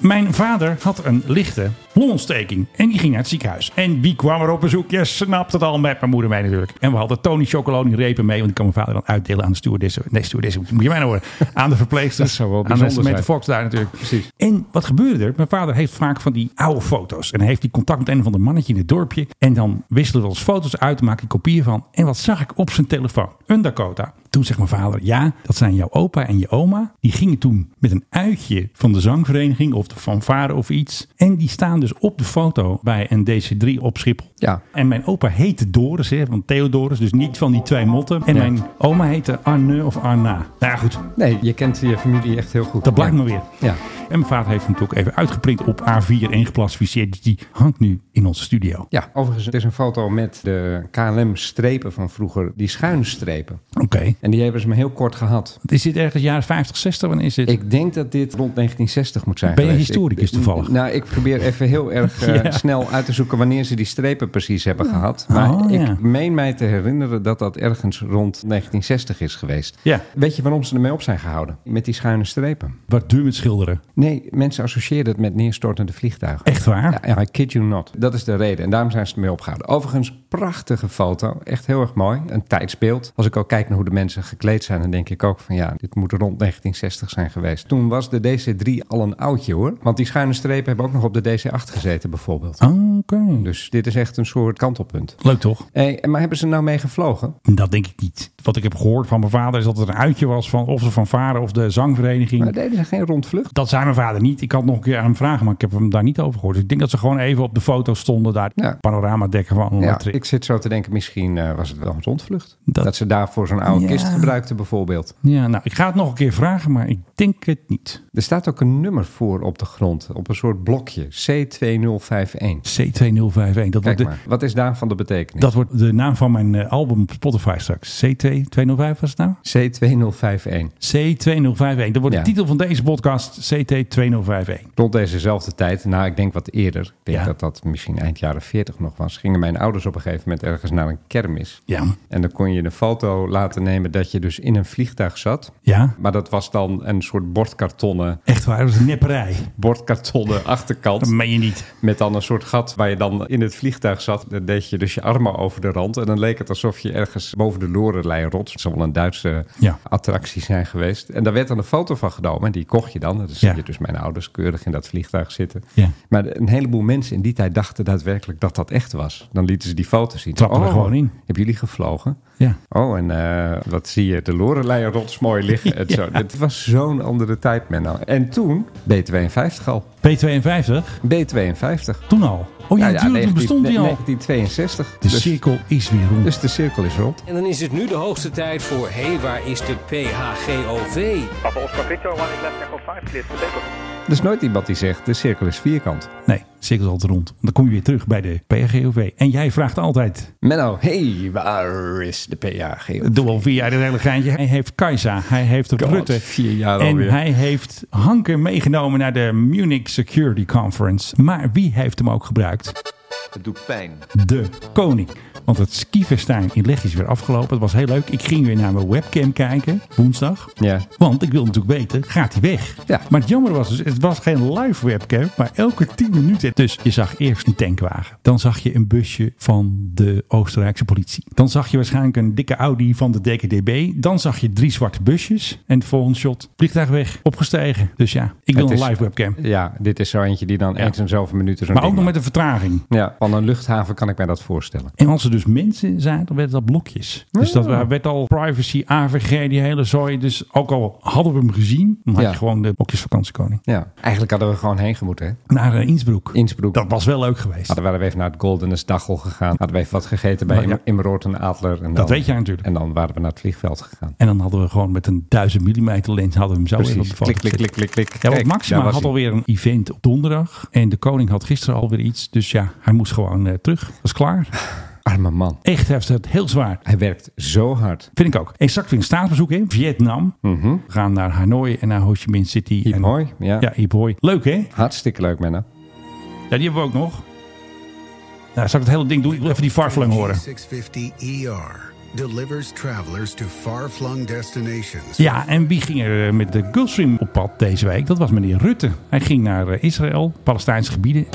Speaker 10: Mijn vader had een lichte longontsteking en die ging naar het ziekenhuis. En wie kwam er op bezoek? Je snapt het al met mijn moeder mee natuurlijk. En we hadden Tony Chocolonely-repen mee, want die kan mijn vader dan uitdelen aan de stewardessen. Nee, stewardessen, moet je mij nou horen. Aan de verpleegsters.
Speaker 11: zou wel
Speaker 10: aan
Speaker 11: bijzonder
Speaker 10: mensen met de
Speaker 11: zijn.
Speaker 10: Fox daar natuurlijk. Precies. En wat gebeurde er? Mijn vader heeft vaak van die oude foto's. En hij heeft die contact met een of ander mannetje in het dorpje. En dan wisselen we ons foto's uit, maak ik kopieën van. En wat zag ik op zijn telefoon? Een Dakota. Toen zegt mijn vader, ja, dat zijn jouw opa en je oma. Die gingen toen met een uitje van de zangvereniging of de fanfare of iets. En die staan dus op de foto bij een DC3 op Schiphol. Ja. En mijn opa heette Doris, hè, van Theodorus. Dus niet van die twee motten. En
Speaker 11: Nee.
Speaker 10: mijn oma heette Arne of Arna. Nou ja, goed.
Speaker 11: Nee, je kent je familie echt heel goed.
Speaker 10: Dat blijkt
Speaker 11: Ja.
Speaker 10: maar weer.
Speaker 11: Ja.
Speaker 10: En mijn vader heeft hem natuurlijk even uitgeprint op A4 en geplasficeerd. Dus die hangt nu in onze studio.
Speaker 11: Ja, overigens, het is een foto met de KLM-strepen van vroeger, die schuinstrepen.
Speaker 10: Oké.
Speaker 11: En die hebben ze maar heel kort gehad.
Speaker 10: Is dit ergens jaren 50, 60? Wanneer is dit?
Speaker 11: Ik denk dat dit rond 1960 moet zijn
Speaker 10: Ben je
Speaker 11: geweest.
Speaker 10: historicus
Speaker 11: Ik-
Speaker 10: toevallig?
Speaker 11: Nou, ik probeer even heel erg eh,
Speaker 10: (laughs) Ja.
Speaker 11: snel uit te zoeken wanneer ze die strepen precies hebben gehad. Maar
Speaker 10: Oh,
Speaker 11: ik
Speaker 10: ja.
Speaker 11: meen mij te herinneren dat dat ergens rond 1960 is geweest.
Speaker 10: Ja.
Speaker 11: Weet je waarom ze ermee op zijn gehouden? Met die schuine strepen.
Speaker 10: Wat duur met schilderen.
Speaker 11: Nee, mensen associëren het met neerstortende vliegtuigen.
Speaker 10: Echt waar?
Speaker 11: Ja, ja, I kid you not. Dat is de reden. En daarom zijn ze ermee opgehouden. Overigens, prachtige foto. Echt heel erg mooi. Een tijdsbeeld. Als ik ook kijk naar hoe de mensen gekleed zijn, dan denk ik ook van ja, dit moet rond 1960 zijn geweest. Toen was de DC-3 al een oudje hoor. Want die schuine strepen hebben ook nog op de DC-8 gezeten bijvoorbeeld.
Speaker 10: Ah, Oké.
Speaker 11: Dus dit is echt een soort kantelpunt.
Speaker 10: Leuk toch?
Speaker 11: Hey, maar hebben ze nou mee gevlogen?
Speaker 10: Dat denk ik niet. Wat ik heb gehoord van mijn vader is dat het een uitje was van of de fanfare of de zangvereniging.
Speaker 11: Maar deden ze geen rondvlucht?
Speaker 10: Dat zei mijn vader niet. Ik had nog een keer aan hem vragen, maar ik heb hem daar niet over gehoord. Dus ik denk dat ze gewoon even op de foto stonden daar. Panoramadekken van een
Speaker 11: Ja,
Speaker 10: trip.
Speaker 11: ik zit zo te denken, misschien eh, was het wel een rondvlucht.
Speaker 10: Dat-
Speaker 11: Dat, ze daarvoor zo'n oude
Speaker 10: Ja.
Speaker 11: kist gebruikten bijvoorbeeld.
Speaker 10: Ja, nou, ik ga het nog een keer vragen, maar ik denk het niet.
Speaker 11: Er staat ook een nummer voor op de grond, op een soort blokje, C2051.
Speaker 10: C2051. Dat wordt
Speaker 11: Kijk
Speaker 10: de-
Speaker 11: maar, wat is daarvan de betekenis?
Speaker 10: Dat wordt de naam van mijn eh, album op Spotify straks. CT205 was het nou?
Speaker 11: C2051.
Speaker 10: C2051. Dat wordt
Speaker 11: Ja.
Speaker 10: de titel van deze podcast. CT2051.
Speaker 11: Rond dezezelfde tijd, nou ik denk wat eerder, ik denk
Speaker 10: Ja.
Speaker 11: dat dat misschien eind jaren 40 nog was, gingen mijn ouders op een gegeven moment ergens naar een kermis.
Speaker 10: Ja.
Speaker 11: En dan kon je een foto laten nemen dat je dus in een vliegtuig zat.
Speaker 10: Ja.
Speaker 11: Maar dat was dan een soort bordkartonnen,
Speaker 10: Echt waar, dat is nepperij.
Speaker 11: bordkartonnen achterkant.
Speaker 10: Dat meen je niet.
Speaker 11: Met dan een soort gat waar je dan in het vliegtuig zat. Dan deed je dus je armen over de rand. En dan leek het alsof je ergens boven de Lorelei rots. Het zal wel een Duitse
Speaker 10: Ja.
Speaker 11: attractie zijn geweest. En daar werd dan een foto van genomen. En die kocht je dan. Dan zie
Speaker 10: Ja.
Speaker 11: je dus mijn ouders keurig in dat vliegtuig zitten.
Speaker 10: Ja.
Speaker 11: Maar een heleboel mensen in die tijd dachten daadwerkelijk dat dat echt was. Dan lieten ze die foto zien.
Speaker 10: Trappen er gewoon in.
Speaker 11: Hebben jullie gevlogen?
Speaker 10: Ja.
Speaker 11: Oh, en eh, wat zie je? De Lorelei rots mooi liggen.
Speaker 10: (laughs)
Speaker 11: en zo. Het was zo'n andere tijd, Menno. En toen, B52 al.
Speaker 10: P52?
Speaker 11: B52.
Speaker 10: Toen al. Oh ja,
Speaker 11: Nou
Speaker 10: natuurlijk toen
Speaker 11: 19
Speaker 10: bestond die al.
Speaker 11: 1962.
Speaker 10: De
Speaker 11: dus,
Speaker 10: cirkel is weer rond.
Speaker 11: dus de cirkel is rond.
Speaker 13: En dan is het nu de hoogste tijd voor... Hé, hey, waar is de PHGOV?
Speaker 11: Er is nooit iemand die zegt, de cirkel is vierkant.
Speaker 10: Nee, de cirkel is altijd rond. Dan kom je weer terug bij de PRGOV. En jij vraagt altijd.
Speaker 11: Menno, hé, hey, waar is de PHGOV?
Speaker 10: Doe al vier jaar dit hele geintje. Hij heeft Kajsa. Hij heeft
Speaker 11: God,
Speaker 10: Rutte.
Speaker 11: vier jaar
Speaker 10: En
Speaker 11: alweer.
Speaker 10: hij heeft Hanke meegenomen naar de Munich Security Conference. Maar wie heeft hem ook gebruikt?
Speaker 12: Het doet pijn.
Speaker 10: de koning. Want het skifestijn in Leg is weer afgelopen. Het was heel leuk. Ik ging weer naar mijn webcam kijken, woensdag.
Speaker 11: Ja.
Speaker 10: Want ik wilde natuurlijk weten, gaat hij weg?
Speaker 11: Ja.
Speaker 10: Maar het jammer was dus, het was geen live webcam, maar elke 10 minuten. Dus je zag eerst een tankwagen. Dan zag je een busje van de Oostenrijkse politie. Dan zag je waarschijnlijk een dikke Audi van de DKDB. Dan zag je drie zwarte busjes. En de volgende shot, vliegtuig weg, opgestegen. Dus ja, ik wil
Speaker 11: Het
Speaker 10: een
Speaker 11: is-
Speaker 10: live webcam.
Speaker 11: Ja, dit is zo eentje die dan eens in zoveel minuten zo'n
Speaker 10: Maar ook
Speaker 11: ding
Speaker 10: nog met een vertraging.
Speaker 11: maakt. Ja, van een luchthaven kan ik mij dat voorstellen.
Speaker 10: En als er dus mensen zijn, dan werden dat blokjes. Dus
Speaker 11: Ah.
Speaker 10: dat wa- werd al privacy, AVG, die hele zooi. Dus ook al hadden we hem gezien, dan had
Speaker 11: Ja.
Speaker 10: je gewoon de blokjes vakantiekoning.
Speaker 11: Ja, eigenlijk hadden we gewoon heen gemoeten, hè?
Speaker 10: Naar eh, Innsbruck.
Speaker 11: Innsbruck. Ah,
Speaker 10: Dat was wel leuk geweest.
Speaker 11: Hadden we er even naar het Goldenes Dachel gegaan. Hadden we even wat gegeten bij
Speaker 10: Maar ja.
Speaker 11: Im- Immeroord en Adler. En
Speaker 10: Dat weet jij natuurlijk.
Speaker 11: En dan waren we naar het vliegveld gegaan.
Speaker 10: En dan hadden we gewoon met een 1000 mm lens hadden we hem zo even op
Speaker 11: Precies.
Speaker 10: de foto
Speaker 11: Klik, klik,
Speaker 10: gezet.
Speaker 11: klik, klik, klik.
Speaker 10: Ja, want
Speaker 11: Kijk,
Speaker 10: Maxima
Speaker 11: daar was
Speaker 10: had
Speaker 11: hij.
Speaker 10: alweer een event op donderdag. En de koning had gisteren alweer iets. Dus ja, hij moest gewoon eh, terug. Was klaar.
Speaker 11: Arme man.
Speaker 10: Echt, hij heeft het heel zwaar.
Speaker 11: Hij werkt zo hard.
Speaker 10: Vind ik ook. En straks weer een staatsbezoek in Vietnam. We gaan naar Hanoi en naar Ho Chi Minh City.
Speaker 11: Iep
Speaker 10: en,
Speaker 11: Mhm. Hoi, ja.
Speaker 10: Ja, Iep Hoi. Leuk hè?
Speaker 11: Hartstikke leuk, Menno.
Speaker 10: Ja, die hebben we ook nog. Nou, zal ik het hele ding doen? Ik wil even die varflang horen.
Speaker 14: 650ER. E delivers travelers to far-flung destinations.
Speaker 10: Ja, en wie ging er eh, met de Gulfstream op pad deze week? Dat was meneer Rutte. Hij ging naar eh, Israël, Palestijnse gebieden.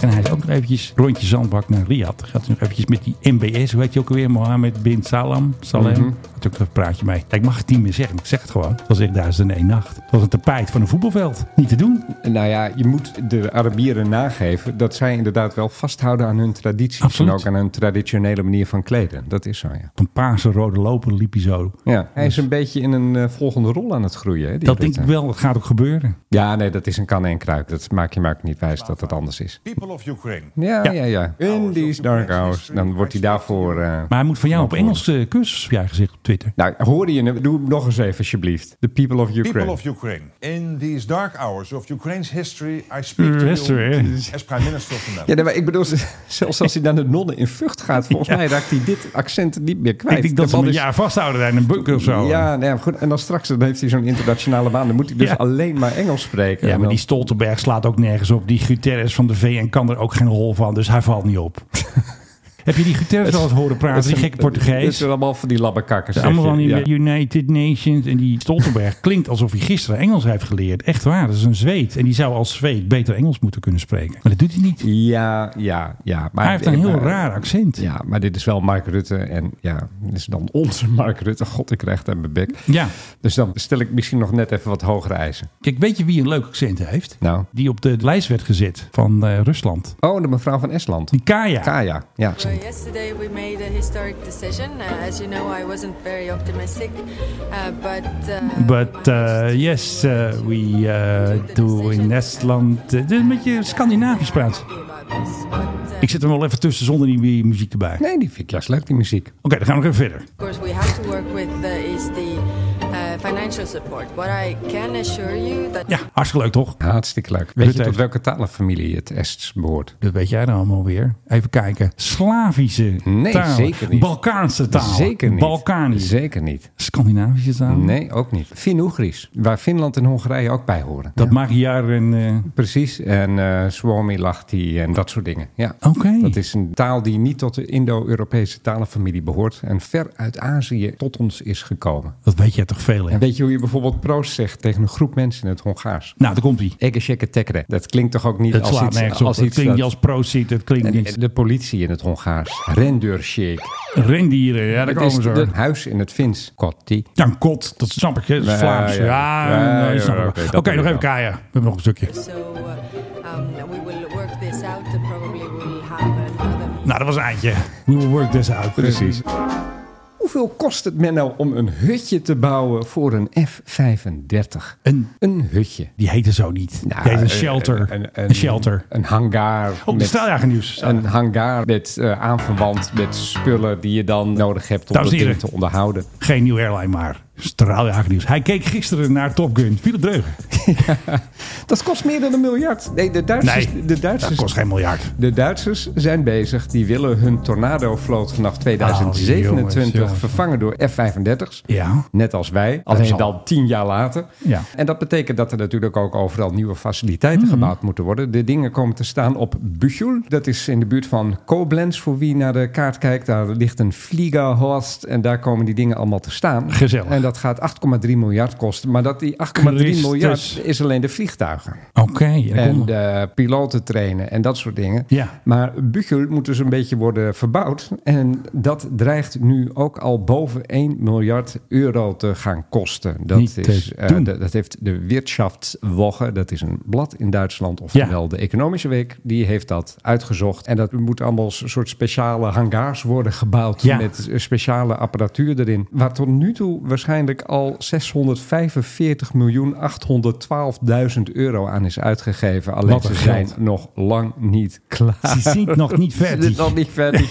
Speaker 10: En hij is ook nog eventjes rondje zandbak naar Riyadh. Gaat hij nog eventjes met die MBS, hoe heet je ook alweer? Mohammed bin Salam. Salem.
Speaker 11: Mhm.
Speaker 10: Had ook een praatje mee. Kijk, ik mag het niet meer zeggen, maar ik zeg het gewoon. Dat was echt duizend en één nacht. Dat was een tapijt van een voetbalveld. Niet te doen.
Speaker 11: Nou ja, je moet de Arabieren nageven dat zij inderdaad wel vasthouden aan hun tradities. En ook aan hun traditionele manier van kleden. Dat is zo, ja.
Speaker 10: Op een paarse rode loper liep hij zo.
Speaker 11: ja. Hij is een beetje in een eh, volgende rol aan het groeien. Hè, die
Speaker 10: Dat denk
Speaker 11: Rutte.
Speaker 10: ik wel, dat gaat ook gebeuren.
Speaker 11: Ja, nee, dat is een kan en kruik. Dat maak je maar ook niet wijs dat het anders is.
Speaker 15: People of Ukraine.
Speaker 11: Ja, ja, ja. In these dark hours. Dan wordt hij daarvoor... eh,
Speaker 10: Maar hij moet van jou op Engels eh, cursus op jij gezegd op Twitter.
Speaker 11: Nou, hoorde je hem? Doe hem nog eens even, alsjeblieft. The people of Ukraine.
Speaker 15: People of Ukraine. In these dark hours of Ukraine's history, I
Speaker 12: Hmm,
Speaker 15: speak to
Speaker 11: History,
Speaker 15: you
Speaker 11: eh?
Speaker 15: as Prime Minister of the
Speaker 11: Ja, nee,
Speaker 15: Netherlands.
Speaker 11: maar ik bedoel, (laughs) zelfs als hij naar de nonnen in Vught gaat, volgens
Speaker 10: Ja.
Speaker 11: mij raakt hij dit accent niet meer kwijt.
Speaker 10: Ik denk dat
Speaker 11: De
Speaker 10: ze
Speaker 11: man
Speaker 10: hem een
Speaker 11: is-
Speaker 10: jaar vasthouden daar in een bunker of zo.
Speaker 11: Ja, nee, maar goed. En dan straks dan heeft hij zo'n internationale baan. Dan moet hij dus
Speaker 10: Ja.
Speaker 11: alleen maar Engels spreken. En
Speaker 10: Ja, maar
Speaker 11: dan-
Speaker 10: die Stoltenberg slaat ook nergens op. Die Guterres van de VN kan er ook geen rol van, dus hij valt
Speaker 11: (laughs)
Speaker 10: niet op. Heb je die Guterres wel eens horen praten,
Speaker 11: Het
Speaker 10: die
Speaker 11: zijn-
Speaker 10: gekke Portugees?
Speaker 11: Het zijn allemaal van die labbekakkers. zeg
Speaker 10: allemaal van
Speaker 11: je.
Speaker 10: die
Speaker 11: Ja.
Speaker 10: United Nations. En
Speaker 11: (laughs)
Speaker 10: die Stoltenberg klinkt alsof hij gisteren Engels heeft geleerd. Echt waar, dat is een Zweed. En die zou als Zweed beter Engels moeten kunnen spreken. Maar dat doet hij niet.
Speaker 11: Ja, ja, ja. Maar
Speaker 10: Hij heeft een heel
Speaker 11: maar-
Speaker 10: raar accent.
Speaker 11: Ja, maar dit is wel Mark Rutte. En ja, dit is dan onze (laughs) Mark Rutte. God, ik krijg het aan mijn bek.
Speaker 10: Ja.
Speaker 11: Dus dan stel ik misschien nog net even wat hogere eisen.
Speaker 10: Kijk, weet je wie een leuk accent heeft?
Speaker 11: Nou.
Speaker 10: Die op de lijst werd gezet van eh, Rusland.
Speaker 11: Oh, de mevrouw van Estland.
Speaker 10: Die Kaya.
Speaker 11: Kaya, ja.
Speaker 16: Yesterday we made a historic decision. Uh, as you know, I wasn't very optimistic, uh, but uh,
Speaker 10: But uh, yes, uh, we uh, do in Estland. eh, dit is een beetje Scandinavisch praat. Ik zet hem wel even tussen zonder die mu- muziek erbij.
Speaker 11: Nee, die vind ik juist leuk, die muziek. Oké,
Speaker 10: dan gaan we nog even verder.
Speaker 16: of course we have to work with uh, is the uh, financial support. What I can assure you that
Speaker 10: Hartstikke leuk, toch?
Speaker 11: Hartstikke leuk. Weet
Speaker 10: Rutte
Speaker 11: je tot
Speaker 10: heeft-
Speaker 11: welke talenfamilie het Ests behoort?
Speaker 10: Dat weet jij dan allemaal weer. Even kijken. Slavische
Speaker 11: Nee,
Speaker 10: talen.
Speaker 11: zeker niet.
Speaker 10: Balkaanse taal.
Speaker 11: Zeker niet.
Speaker 10: Balkanisch.
Speaker 11: Zeker niet.
Speaker 10: Scandinavische taal.
Speaker 11: Nee, ook niet. Fin-Oegrisch, waar Finland en Hongarije ook bij horen.
Speaker 10: Dat Magyar en... eh,
Speaker 11: Precies, en eh Suomi, Lahti en dat soort dingen. Ja.
Speaker 10: Oké.
Speaker 11: Dat is een taal die niet tot de Indo-Europese talenfamilie behoort en ver uit Azië tot ons is gekomen.
Speaker 10: Dat weet jij toch veel, hè?
Speaker 11: Weet je hoe je bijvoorbeeld proost zegt tegen een groep mensen in het Hongaars?
Speaker 10: Nou, daar komt-ie.
Speaker 11: Egesheke tekere. Dat klinkt toch ook niet
Speaker 10: Het
Speaker 11: als
Speaker 10: slaat
Speaker 11: iets...
Speaker 10: nergens op.
Speaker 11: Als
Speaker 10: Het
Speaker 11: iets
Speaker 10: klinkt
Speaker 11: dat-
Speaker 10: niet als proceed, het klinkt
Speaker 11: En-
Speaker 10: niet-
Speaker 11: en De politie in het Hongaars. Rendeurshake.
Speaker 10: Rendieren, ja, daar
Speaker 11: Het
Speaker 10: komen
Speaker 11: is
Speaker 10: ze.
Speaker 11: het huis in het Fins. Kotti.
Speaker 10: Dan kot, dat snap ik. hè. Dat is
Speaker 11: Ja,
Speaker 10: Vlaams. Ja,
Speaker 11: ja. Ja,
Speaker 10: nee,
Speaker 11: ja,
Speaker 10: snap ik wel.
Speaker 11: oké, dat
Speaker 10: Oké,
Speaker 11: weet
Speaker 10: nog
Speaker 11: ik
Speaker 10: even
Speaker 11: wel.
Speaker 10: Kaya. We hebben nog een stukje.
Speaker 16: so uh, um, we will work this out. And probably we'll have another.
Speaker 10: Nou, dat was een eindje. We will work this out.
Speaker 11: Precies. Hoeveel kost het men nou om een hutje te bouwen voor een F-35?
Speaker 10: Een,
Speaker 11: een hutje.
Speaker 10: Die heette zo niet.
Speaker 11: Nou,
Speaker 10: Die heette een shelter.
Speaker 11: Een,
Speaker 10: Een shelter.
Speaker 11: Een hangar.
Speaker 10: de straaljagernieuws.
Speaker 11: Een hangar met eh, aanverwant met spullen die je dan nodig hebt om
Speaker 10: Dames
Speaker 11: dat
Speaker 10: en
Speaker 11: ding
Speaker 10: heren.
Speaker 11: te onderhouden.
Speaker 10: Geen nieuw airline, maar straaljagernieuws. Hij keek gisteren naar Top Gun. Philip Dreugen.
Speaker 11: Dat kost meer dan een miljard. Nee, de Duitsers,
Speaker 10: Nee,
Speaker 11: de Duitsers,
Speaker 10: dat kost geen miljard.
Speaker 11: De Duitsers zijn bezig. Die willen hun tornado-vloot vanaf
Speaker 10: Oh,
Speaker 11: 2027
Speaker 10: jongens, jongens.
Speaker 11: vervangen door F-35's.
Speaker 10: Ja.
Speaker 11: Nou, Net als wij.
Speaker 10: Dat is
Speaker 11: Alleen
Speaker 10: al-
Speaker 11: dan tien jaar later.
Speaker 10: Ja. Mhm.
Speaker 11: En dat betekent dat er natuurlijk ook overal nieuwe faciliteiten gebouwd moeten worden. De dingen komen te staan op Büchel. Dat is in de buurt van Koblenz. Voor wie naar de kaart kijkt, daar ligt een Fliegerhorst. En daar komen die dingen allemaal te staan.
Speaker 10: Gezellig.
Speaker 11: En dat gaat 8,3 miljard kosten. Maar dat die 8,3
Speaker 10: Christus.
Speaker 11: miljard
Speaker 10: dus-
Speaker 11: is alleen de vliegtuigen.
Speaker 10: Oké. ja, kom
Speaker 11: En
Speaker 10: maar.
Speaker 11: de piloten trainen en dat soort dingen.
Speaker 10: Ja.
Speaker 11: Maar Büchel moet dus een beetje worden verbouwd. En dat dreigt nu ook al boven 1 miljard euro te gaan kosten. Dat,
Speaker 10: Niet te
Speaker 11: is, eh,
Speaker 10: doen.
Speaker 11: dat, dat heeft de Wirtschaftswoche, dat is een blad in Duitsland, oftewel de Economische Week, die heeft dat uitgezocht. En dat moet allemaal een soort speciale hangars worden gebouwd
Speaker 10: Ja.
Speaker 11: met speciale apparatuur erin. Waar tot nu toe waarschijnlijk al 645.812.000 euro aan is uitgegeven. Alleen
Speaker 10: Wat een
Speaker 11: ze zijn
Speaker 10: geld.
Speaker 11: nog lang niet klaar.
Speaker 10: Ze
Speaker 11: (laughs)
Speaker 10: sind noch nicht fertig.
Speaker 11: eh, Ze sind noch nicht fertig.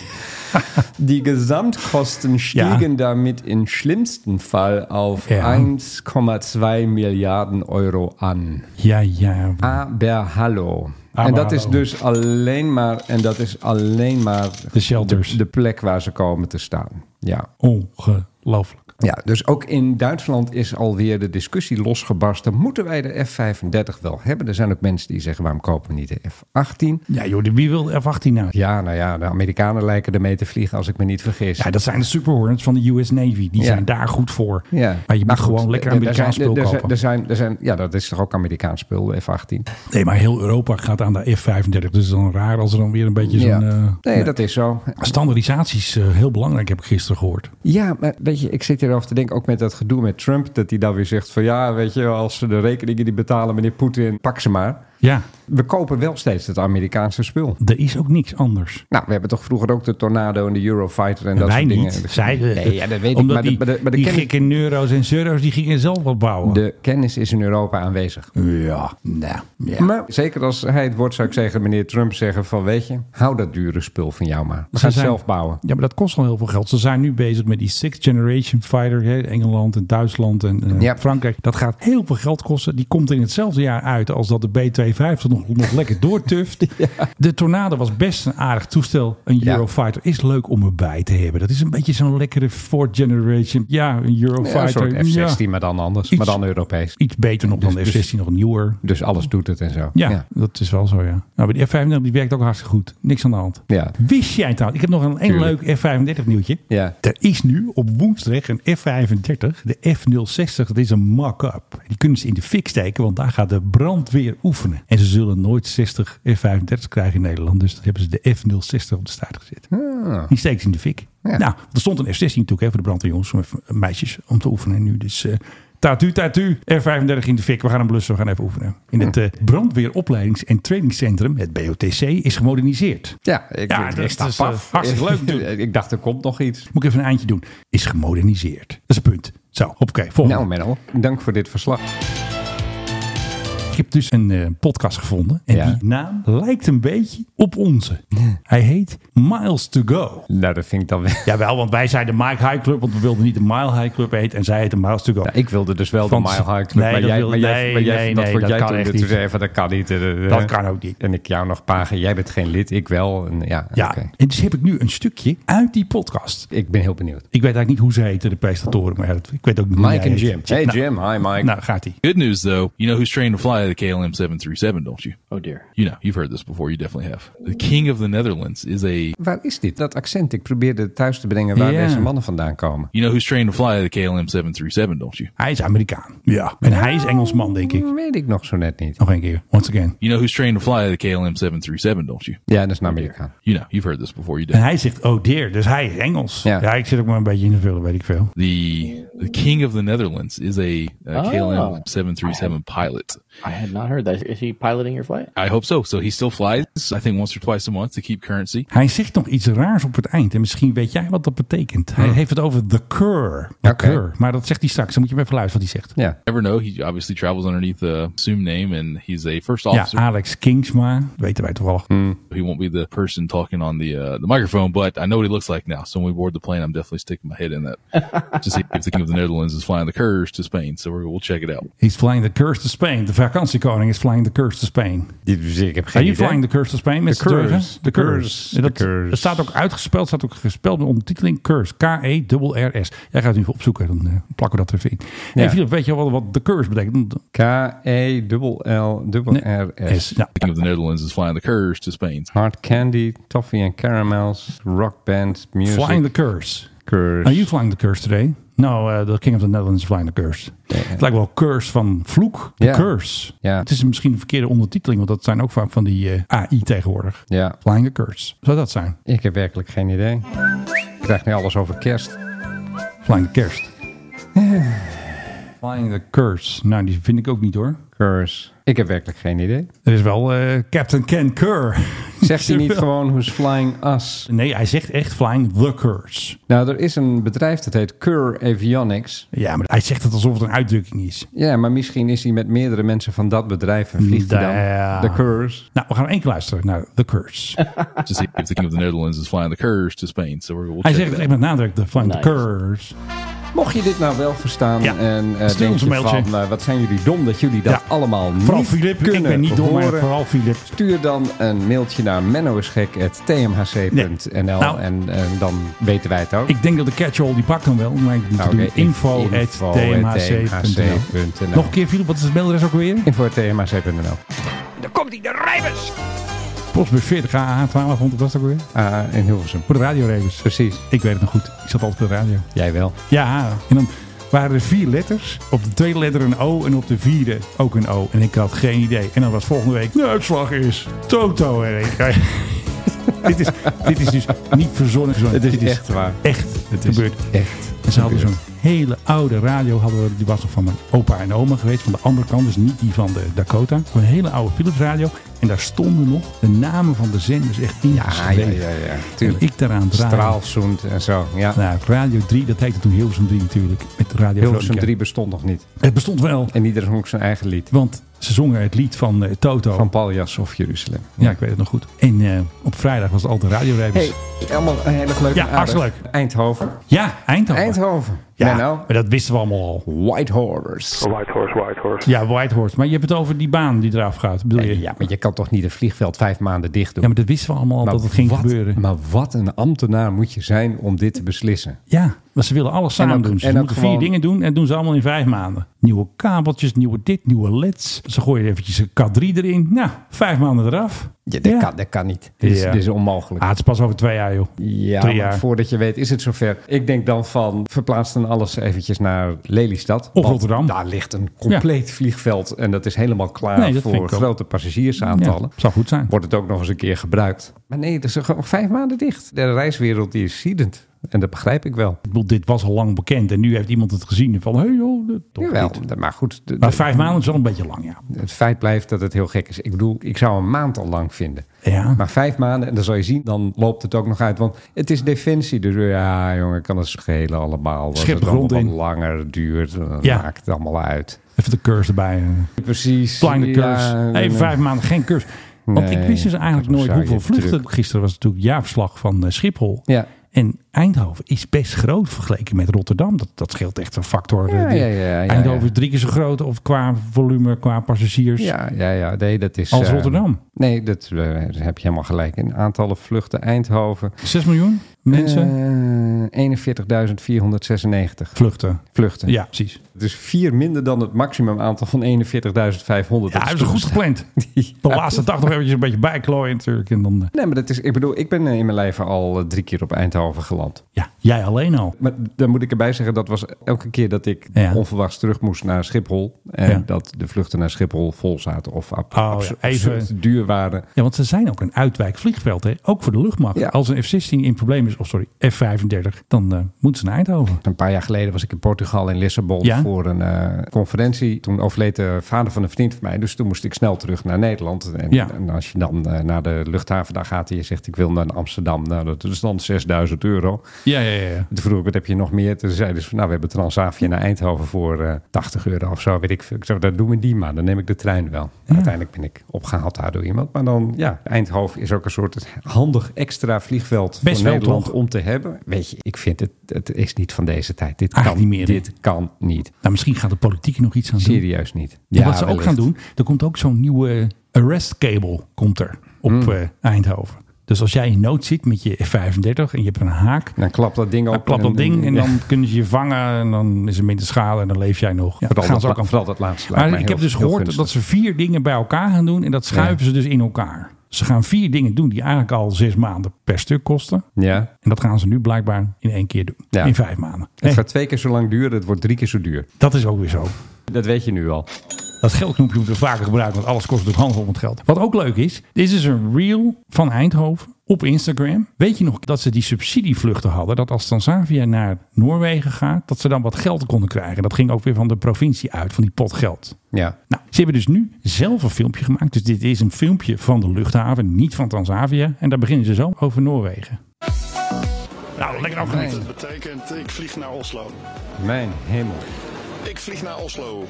Speaker 10: (laughs)
Speaker 11: Die Gesamtkosten stiegen damit im schlimmsten Fall auf
Speaker 10: Ja.
Speaker 11: 1,2 Milliarden Euro an.
Speaker 10: Ja, ja.
Speaker 11: Aber hallo.
Speaker 10: Aber
Speaker 11: en dat
Speaker 10: hallo.
Speaker 11: is dus alleen maar, en dat is alleen maar
Speaker 10: De shelters.
Speaker 11: de plek waar ze komen te staan. Ja.
Speaker 10: Ongelooflijk.
Speaker 11: Ja, dus ook in Duitsland is alweer de discussie losgebarsten. Moeten wij de F-35 wel hebben? Er zijn ook mensen die zeggen, waarom kopen we niet de F-18?
Speaker 10: Ja joh, de- wie wil de F-18 nou?
Speaker 11: Ja, nou ja, de Amerikanen lijken ermee te vliegen, als ik me niet vergis.
Speaker 10: Ja, dat zijn de Super Hornets van de US Navy. Die
Speaker 11: Ja.
Speaker 10: zijn daar goed voor.
Speaker 11: Ja. Nou
Speaker 10: Maar je moet
Speaker 11: goed,
Speaker 10: gewoon lekker
Speaker 11: er- er
Speaker 10: Amerikaans
Speaker 11: zijn-
Speaker 10: spul
Speaker 11: er- er zijn-
Speaker 10: kopen.
Speaker 11: Er zijn, er zijn, ja, dat is toch ook Amerikaans spul, de F-18?
Speaker 10: Nee, maar heel Europa gaat aan de F-35. Dus het is dan raar als er dan weer een beetje zo'n...
Speaker 11: Ja.
Speaker 10: eh,
Speaker 11: Nee, dat is zo.
Speaker 10: Standaardisaties eh, heel belangrijk, heb ik gisteren gehoord.
Speaker 11: Ja, maar weet je, ik zit hierover te denken, ook met dat gedoe met Trump, dat hij dan weer zegt van ja, weet je, als ze de rekeningen die betalen, meneer Poetin, pak ze maar.
Speaker 10: Ja.
Speaker 11: We kopen wel steeds het Amerikaanse spul.
Speaker 10: Er is ook niks anders.
Speaker 11: Nou, we hebben toch vroeger ook de Tornado en de Eurofighter en dat
Speaker 10: Wij
Speaker 11: soort dingen.
Speaker 10: niet. Zij, eh,
Speaker 11: nee, ja, dat weet ik.
Speaker 10: omdat
Speaker 11: Maar de,
Speaker 10: die,
Speaker 11: maar de, maar de
Speaker 10: die
Speaker 11: kennis,
Speaker 10: gekken euro's en zero's, die gingen zelf wat bouwen.
Speaker 11: de kennis is in Europa aanwezig.
Speaker 10: Ja, nou. Ja.
Speaker 11: Maar zeker als hij het woord zou ik zeggen, meneer Trump zeggen van weet je, hou dat dure spul van jou maar. We
Speaker 10: Ze
Speaker 11: gaan het
Speaker 10: zijn-
Speaker 11: zelf bouwen.
Speaker 10: Ja, maar dat kost al heel veel geld. Ze zijn nu bezig met die Sixth Generation Fighter. Hè, Engeland en Duitsland en eh, Frankrijk. Dat gaat heel veel geld kosten. Die komt in hetzelfde jaar uit als dat de B-250 nog, nog
Speaker 11: (laughs)
Speaker 10: lekker doortuft. De Tornado was best een aardig toestel. Een Eurofighter is leuk om erbij te hebben. Dat is een beetje zo'n lekkere fourth generation. Ja, een
Speaker 11: Ja, een
Speaker 10: Eurofighter.
Speaker 11: soort F-16,
Speaker 10: Ja.
Speaker 11: maar dus- dan anders.
Speaker 10: Iets-
Speaker 11: maar dan Europees.
Speaker 10: Iets beter nog dan de F-16, nog nieuwer.
Speaker 11: Dus alles doet het en zo.
Speaker 10: Ja, dat is wel zo, ja. Nou, maar die F-35 die werkt ook hartstikke goed. Niks aan de hand.
Speaker 11: Ja.
Speaker 10: Wist jij trouwens, ik heb nog een, een
Speaker 11: Tuurlijk.
Speaker 10: leuk F-35 nieuwtje.
Speaker 11: Ja.
Speaker 10: Er is nu op woensdag een F-35, de F-060, dat is een mock-up. Die kunnen ze in de fik steken, want daar gaat de brandweer oefenen. En ze zullen nooit 60 F-35 krijgen in Nederland, dus dan hebben ze de F-060 op de staart gezet. Die steken ze in de fik. Nou, er stond een F-16 natuurlijk hè, voor de brandweerjongens, om even- meisjes, om te oefenen. En nu dus... eh Tatu, tatu, R35 in de fik. We gaan hem blussen, we gaan even oefenen. In het eh, brandweeropleidings- en trainingscentrum, het BOTC, is gemoderniseerd.
Speaker 11: Ja, ik,
Speaker 10: Ja,
Speaker 11: ik-
Speaker 10: dat
Speaker 11: ik sta
Speaker 10: is, eh,
Speaker 11: paf.
Speaker 10: hartstikke leuk
Speaker 11: (laughs) ik dacht, er komt nog iets.
Speaker 10: Moet ik even een eindje doen. Is gemoderniseerd. Dat is het punt. Zo, oké, volgende.
Speaker 11: Nou Menno, dank voor dit verslag.
Speaker 10: Ik heb dus een eh, podcast gevonden. En die naam lijkt een beetje op onze. Hij heet Miles to Go.
Speaker 11: Nou, dat vind ik dan wel. (laughs)
Speaker 10: Jawel, want wij zijn de Mike High Club, want we wilden niet de Mile High Club heten. En zij heette Miles to Go.
Speaker 11: ik wilde dus wel
Speaker 10: Van-
Speaker 11: de Mile High Club.
Speaker 10: Nee,
Speaker 11: maar
Speaker 10: dat
Speaker 11: jij,
Speaker 10: wilde-
Speaker 11: maar jij,
Speaker 10: nee,
Speaker 11: maar jij,
Speaker 10: nee,
Speaker 11: dat
Speaker 10: nee,
Speaker 11: vond
Speaker 10: dat
Speaker 11: jij
Speaker 10: kan
Speaker 11: toen
Speaker 10: echt
Speaker 11: weer
Speaker 10: niet.
Speaker 11: te zeggen, dat kan niet. eh, eh,
Speaker 10: Dat
Speaker 11: eh.
Speaker 10: kan ook niet.
Speaker 11: En ik jou nog pagen. Jij bent geen lid, ik wel. En ja,
Speaker 10: Ja,
Speaker 11: oké.
Speaker 10: en dus heb ik nu een stukje uit die podcast.
Speaker 11: Ik ben heel benieuwd.
Speaker 10: Ik weet eigenlijk niet hoe ze heten, de presentatoren. Maar ja, dat- ik weet ook niet hoe jij
Speaker 11: Mike en
Speaker 10: heet.
Speaker 11: Jim. Hey
Speaker 10: Nou,
Speaker 11: Jim, hi Mike.
Speaker 10: Nou, gaat hij.
Speaker 17: Good news though, you know who's trained to fly the KLM 737, don't you? Oh dear. You know, you've heard this before, you definitely have. The King of the Netherlands is a
Speaker 11: Waar is dit? Dat accent. Ik probeerde thuis te brengen waar
Speaker 17: Ja.
Speaker 11: deze mannen vandaan komen.
Speaker 17: You know who's trained to fly the KLM 737, don't you?
Speaker 10: Hij is Amerikaan. Ja. En hij is Engelsman, denk ik.
Speaker 11: Weet ik nog zo net niet.
Speaker 10: Nog één keer. Once again.
Speaker 17: You know who's trained to fly the KLM 737, don't you?
Speaker 11: Ja, dat is een Amerikaan.
Speaker 17: You know, you've heard this before, you
Speaker 10: En
Speaker 17: definitely
Speaker 10: hij zegt, oh dear, dus hij is Engels. Ja, ik zit ook maar een beetje in de vullen, weet ik veel.
Speaker 17: The the King of the Netherlands is a, uh
Speaker 11: Ah.
Speaker 18: Oh.
Speaker 17: KLM 737 pilot.
Speaker 18: I had not heard that. Is he piloting your flight?
Speaker 17: I hope so. So he still flies, I think once or twice a month to keep currency.
Speaker 10: Hij zegt nog iets raars op het eind. En misschien weet jij wat dat betekent. Hij heeft het over the cur. The
Speaker 17: Oké.
Speaker 10: cur. Maar dat zegt hij straks. Dan moet je maar even luisteren wat hij zegt.
Speaker 11: Yeah.
Speaker 17: Never know. He obviously travels underneath the assumed name, and he's a first
Speaker 10: Ja,
Speaker 17: officer.
Speaker 10: Alex Kingsma. Weten wij toevallig.
Speaker 11: Hmm.
Speaker 17: He won't be the person talking on the uh, the microphone, but I know what he looks like now. So when we board the plane, I'm definitely sticking my head in that (laughs) to see if the king of the Netherlands is flying the Curves to Spain. So we're, we'll check it out.
Speaker 10: He's flying the curse to Spain. De vakantiekoning is flying the curse to Spain.
Speaker 11: dus Ik heb
Speaker 10: Are
Speaker 11: geen
Speaker 10: you
Speaker 11: idee.
Speaker 10: flying the curse to Spain? Met
Speaker 11: The
Speaker 10: z'n drieën?
Speaker 11: curse. The
Speaker 10: The curse.
Speaker 11: curse.
Speaker 10: En Dat,
Speaker 11: The curse.
Speaker 10: dat staat ook uitgespeld. staat ook gespeld met ondertiteling curse. E K-E-R-S. Jij gaat het nu even opzoeken. Dan eh, plakken we dat er even in.
Speaker 11: Ja.
Speaker 10: Hey, Philip, weet je wel wat de curse betekent?
Speaker 11: E K-E-L-L-R-S.
Speaker 17: The king of the Netherlands is flying the Curves to Spain.
Speaker 11: Hard candy, toffee and caramels, rock band, music.
Speaker 10: Flying the curse.
Speaker 11: Curse.
Speaker 10: Are you flying the curse today? No, eh, the king of the Netherlands is flying the curse. Het lijkt wel curse van vloek. The
Speaker 11: Ja.
Speaker 10: curse. Het is misschien een verkeerde ondertiteling. Want dat zijn ook vaak van die eh, AI tegenwoordig.
Speaker 11: Ja.
Speaker 10: Flying the curse. Zou dat zijn?
Speaker 11: Ik heb werkelijk geen idee. Ik krijg nu alles over kerst.
Speaker 10: Flying the kerst. Flying the curse. Nou, die vind ik ook niet hoor.
Speaker 11: Curse. Ik heb werkelijk geen idee.
Speaker 10: Er is wel eh, Captain Ken Kerr.
Speaker 11: Zegt hij
Speaker 10: (laughs)
Speaker 11: niet gewoon who's flying us?
Speaker 10: Nee, hij zegt echt flying the curse.
Speaker 11: Nou, er is een bedrijf dat heet Cur Avionics.
Speaker 10: Ja, maar hij zegt het alsof het een uitdrukking is.
Speaker 11: Ja, maar misschien is hij met meerdere mensen van dat bedrijf en vliegt hij
Speaker 10: Ja.
Speaker 11: dan. De Curse.
Speaker 10: Nou, we gaan één keer luisteren naar The Curse.
Speaker 17: (laughs) to see if the king of the Netherlands is flying the Curves to Spain. So we're, we'll
Speaker 10: hij
Speaker 17: check
Speaker 10: zegt
Speaker 17: it
Speaker 10: het
Speaker 17: out.
Speaker 10: echt met nadruk, the flying the
Speaker 17: Nice.
Speaker 10: curse.
Speaker 11: Mocht je dit nou wel verstaan en eh,
Speaker 10: Stuur
Speaker 11: denk
Speaker 10: ons
Speaker 11: je
Speaker 10: een mailtje.
Speaker 11: van, eh, wat zijn jullie dom dat jullie dat
Speaker 10: Ja.
Speaker 11: allemaal
Speaker 10: Vooral
Speaker 11: niet
Speaker 10: Filip.
Speaker 11: kunnen
Speaker 10: Ik ben niet dom, maar
Speaker 11: horen.
Speaker 10: vooral Filip.
Speaker 11: Stuur dan een mailtje naar mennoisgek.tmhc.nl
Speaker 10: Nou.
Speaker 11: en, en dan weten wij het ook.
Speaker 10: Ik denk dat de catch-all die pakt hem wel. Maar ik moet
Speaker 11: Nou,
Speaker 10: doen
Speaker 11: oké,
Speaker 10: info,
Speaker 11: info
Speaker 10: at
Speaker 11: at
Speaker 10: tmhc.nl.
Speaker 11: tmhc.nl.
Speaker 10: Nog een keer, Philip, wat is het mailadres ook weer?
Speaker 11: Info.tmhc.nl
Speaker 1: Daar komt hij, de rijbus!
Speaker 10: Postbus 40 AA 1200, was dat ook weer?
Speaker 11: Ah, in Hilversum.
Speaker 10: Voor de radioregels.
Speaker 11: Precies.
Speaker 10: Ik weet het nog goed. Ik zat altijd op de radio.
Speaker 11: Jij wel.
Speaker 10: Ja, en dan waren er vier letters. Op de tweede letter een O en op de vierde ook een O. En ik had geen idee. En dan was volgende week, de uitslag is Toto. En ik- (laughs) dit, is, dit is dus niet verzonnen.
Speaker 11: Het is
Speaker 10: dit
Speaker 11: echt waar.
Speaker 10: Echt het
Speaker 11: is
Speaker 10: gebeurd.
Speaker 11: echt
Speaker 10: En ze hadden zo'n
Speaker 11: gebeurd.
Speaker 10: hele oude radio. Hadden we, die was nog van mijn opa en oma geweest. Van de andere kant, dus niet die van de Dakota. Een hele oude Philips radio. En daar stonden nog de namen van de zenders echt
Speaker 11: Ah, ja,
Speaker 10: ingeschreven.
Speaker 11: ja, ja. Tuurlijk.
Speaker 10: En ik daaraan draaien.
Speaker 11: Straalzoend en zo. Ja.
Speaker 10: Nou, Radio 3, dat heette toen Hilversum 3 natuurlijk. Met Radio
Speaker 11: Hilversum
Speaker 10: Veronica.
Speaker 11: 3 bestond nog niet.
Speaker 10: Het bestond wel.
Speaker 11: En ieder zong zijn eigen lied.
Speaker 10: Want ze zongen het lied van eh, Toto.
Speaker 11: Van Paljas of Jeruzalem.
Speaker 10: Ja, ik weet het nog goed. En eh, op vrijdag was het altijd Radio
Speaker 11: Hey,
Speaker 10: Rijbus.
Speaker 11: allemaal een hele leuke
Speaker 10: Ja, hartstikke leuk.
Speaker 11: Dus- Eindhoven.
Speaker 10: Ja, Eindhoven.
Speaker 11: Eindhoven.
Speaker 10: Ja, Oh,
Speaker 11: Menno.
Speaker 10: maar dat wisten we allemaal al.
Speaker 11: White Horse. White Horse, White Horse.
Speaker 10: Ja, Whitehorse. Maar je hebt het over die baan die eraf gaat, bedoel je?
Speaker 11: Eh, Ja, maar je kan toch niet een vliegveld vijf maanden dicht doen?
Speaker 10: Ja, maar dat wisten we allemaal al
Speaker 11: Maar
Speaker 10: dat het ging
Speaker 11: wat-
Speaker 10: gebeuren.
Speaker 11: Maar wat een ambtenaar moet je zijn om dit te beslissen.
Speaker 10: Ja, maar ze willen alles
Speaker 11: En
Speaker 10: samen
Speaker 11: ook-
Speaker 10: doen. Ze
Speaker 11: en ook
Speaker 10: moeten vier
Speaker 11: gewoon-
Speaker 10: dingen doen en doen ze allemaal in vijf maanden. Nieuwe kabeltjes, nieuwe dit, nieuwe leds. Ze gooien eventjes een K3 erin. Nou, vijf maanden eraf.
Speaker 11: Ja, dat, Kan, dat kan niet. Dit is,
Speaker 10: Ja.
Speaker 11: dit is onmogelijk.
Speaker 10: Ah, het is pas over twee jaar, joh.
Speaker 11: Ja,
Speaker 10: Drie
Speaker 11: maar
Speaker 10: jaar.
Speaker 11: voordat je weet is het zover. Ik denk dan van verplaats dan alles eventjes naar Lelystad.
Speaker 10: Of
Speaker 11: Want
Speaker 10: Rotterdam.
Speaker 11: Daar ligt een compleet vliegveld en dat is helemaal klaar
Speaker 10: Nee, dat vind
Speaker 11: voor
Speaker 10: ik ook.
Speaker 11: grote passagiersaantallen.
Speaker 10: Ja, zou goed zijn.
Speaker 11: Wordt het ook nog eens een keer gebruikt. Maar nee, dat is gewoon vijf maanden dicht. De reiswereld die is ziedend. En dat begrijp ik wel.
Speaker 10: Ik bedoel, dit was al lang bekend en nu heeft iemand het gezien en van, hé hey joh, dat- toch
Speaker 11: Jawel,
Speaker 10: niet.
Speaker 11: maar goed. de-
Speaker 10: Maar
Speaker 11: de-
Speaker 10: vijf maanden is wel een beetje lang, ja.
Speaker 11: Het feit blijft dat het heel gek is. Ik bedoel, ik zou een maand al lang vinden.
Speaker 10: Ja.
Speaker 11: Maar vijf maanden, en dan zal je zien, dan loopt het ook nog uit. Want het is defensie. Dus ja, jongen, kan het schelen allemaal. Als
Speaker 10: Schip
Speaker 11: het
Speaker 10: de grond
Speaker 11: allemaal
Speaker 10: in.
Speaker 11: wat langer duurt, dan
Speaker 10: Ja.
Speaker 11: maakt het allemaal uit.
Speaker 10: Even de curse erbij. eh.
Speaker 11: Precies.
Speaker 10: Flying the
Speaker 11: Ja,
Speaker 10: curse.
Speaker 11: en-
Speaker 10: Even vijf maanden, geen curse. Want ik
Speaker 11: Nee,
Speaker 10: wist dus eigenlijk
Speaker 11: dan
Speaker 10: nooit
Speaker 11: zou je
Speaker 10: hoeveel vluchten.
Speaker 11: druk-
Speaker 10: Gisteren was natuurlijk het jaarverslag van eh, Schiphol.
Speaker 11: Ja.
Speaker 10: En Eindhoven is best groot vergeleken met Rotterdam. Dat, dat scheelt echt een factor.
Speaker 11: Ja,
Speaker 10: eh, die-
Speaker 11: ja, ja, ja,
Speaker 10: Eindhoven
Speaker 11: ja.
Speaker 10: is drie keer zo groot of qua volume, qua passagiers.
Speaker 11: Ja, ja, ja. Nee, dat is...
Speaker 10: Als
Speaker 11: eh,
Speaker 10: Rotterdam.
Speaker 11: Nee, dat, eh, daar heb je helemaal gelijk. Een aantallen vluchten Eindhoven.
Speaker 10: 6 miljoen mensen.
Speaker 11: Eh, 41.496.
Speaker 10: Vluchten.
Speaker 11: Vluchten.
Speaker 10: Ja, precies.
Speaker 11: Dus vier minder dan het maximum aantal van 41.500.
Speaker 10: Ja, hebben ze goed (laughs) gepland. De laatste dag nog eventjes een beetje bijklooien natuurlijk. En dan, eh,
Speaker 11: Nee, maar dat is, ik bedoel, ik ben eh, in mijn leven al eh, drie keer op Eindhoven geland.
Speaker 10: ja, jij alleen al.
Speaker 11: Maar dan moet ik erbij zeggen, dat was elke keer dat ik
Speaker 10: Ja.
Speaker 11: onverwachts terug moest naar Schiphol. En
Speaker 10: Ja. Oh,
Speaker 11: dat de vluchten naar Schiphol vol zaten of ab-
Speaker 10: ja,
Speaker 11: abs-
Speaker 10: even-
Speaker 11: absurd duur waren.
Speaker 10: Ja, want ze zijn ook een uitwijkvliegveld, hè? ook voor de luchtmacht. Als een F-16 in probleem is, of sorry, F-35, dan eh, moeten ze naar Eindhoven.
Speaker 11: Een paar jaar geleden was ik in Portugal in Lissabon
Speaker 10: Ja?
Speaker 11: voor een eh, conferentie. Toen overleed de vader van een vriend van mij. Dus toen moest ik snel terug naar Nederland. En,
Speaker 10: Ja.
Speaker 11: en als je dan eh, naar de luchthaven daar gaat en je zegt ik wil naar Amsterdam. Nou, dat is dan 6000 euro.
Speaker 10: Ja, ja, ja.
Speaker 11: Toen vroeg ik, wat heb je nog meer? Toen zeiden ze, van, nou, we hebben Transavia naar Eindhoven voor eh 80 euro of zo, weet ik veel. Ik zei, dat doen we die maar, dan neem ik de trein wel. Uiteindelijk ben ik opgehaald daar door iemand. Maar dan, ja, Eindhoven is ook een soort handig extra vliegveld
Speaker 10: Best
Speaker 11: voor
Speaker 10: wel,
Speaker 11: Nederland
Speaker 10: toch?
Speaker 11: om te hebben. Weet je, ik vind het, het is niet van deze tijd. Dit kan
Speaker 10: Eigenlijk niet meer, hè?
Speaker 11: Dit kan niet.
Speaker 10: Nou, misschien gaat de politiek er nog iets aan doen.
Speaker 11: Serieus niet.
Speaker 10: Ja, wat ze ook
Speaker 11: wellicht.
Speaker 10: gaan doen, er komt ook zo'n nieuwe eh, arrest cable komt er op eh, Eindhoven. Dus als jij in nood zit met je F-35 en je hebt een haak,
Speaker 11: Dan klapt dat ding
Speaker 10: dan
Speaker 11: op.
Speaker 10: klapt dat ding en
Speaker 11: ja.
Speaker 10: dan kunnen ze je vangen en dan is er minder schade en dan leef jij nog. Ja,
Speaker 11: Vooral
Speaker 10: gaan
Speaker 11: dat
Speaker 10: ze ook
Speaker 11: la-
Speaker 10: aan-
Speaker 11: vooral dat laatste lijkt
Speaker 10: Maar
Speaker 11: mij
Speaker 10: ik
Speaker 11: heel-
Speaker 10: heb dus
Speaker 11: heel
Speaker 10: gehoord
Speaker 11: gunstig.
Speaker 10: dat ze vier dingen bij elkaar gaan doen en dat schuiven ze dus in elkaar. Ze gaan vier dingen doen die eigenlijk al zes maanden per stuk kosten.
Speaker 11: (laughs) Ja,
Speaker 10: En dat gaan ze nu blijkbaar in één keer doen.
Speaker 11: Ja.
Speaker 10: In vijf maanden.
Speaker 11: het
Speaker 10: Hey,
Speaker 11: gaat twee keer zo lang duren, het wordt drie keer zo duur.
Speaker 10: dat is ook weer zo.
Speaker 11: Dat weet je nu al.
Speaker 10: Dat geldknopje moeten we vaker gebruiken, want alles kost natuurlijk handel om het geld. Wat ook leuk is, dit is een reel van Eindhoven op Instagram. Weet je nog dat ze die subsidievluchten hadden? Dat als Tanzania naar Noorwegen gaat, dat ze dan wat geld konden krijgen. Dat ging ook weer van de provincie uit, van die pot geld.
Speaker 11: Ja.
Speaker 10: Nou, ze hebben dus nu zelf een filmpje gemaakt. Dus dit is een filmpje van de luchthaven, niet van Transavia. En daar beginnen ze zo over Noorwegen. Nou, lekker afgeniet.
Speaker 19: Dat betekent, ik vlieg naar Oslo.
Speaker 11: Mijn hemel.
Speaker 19: Ik vlieg naar Oslo.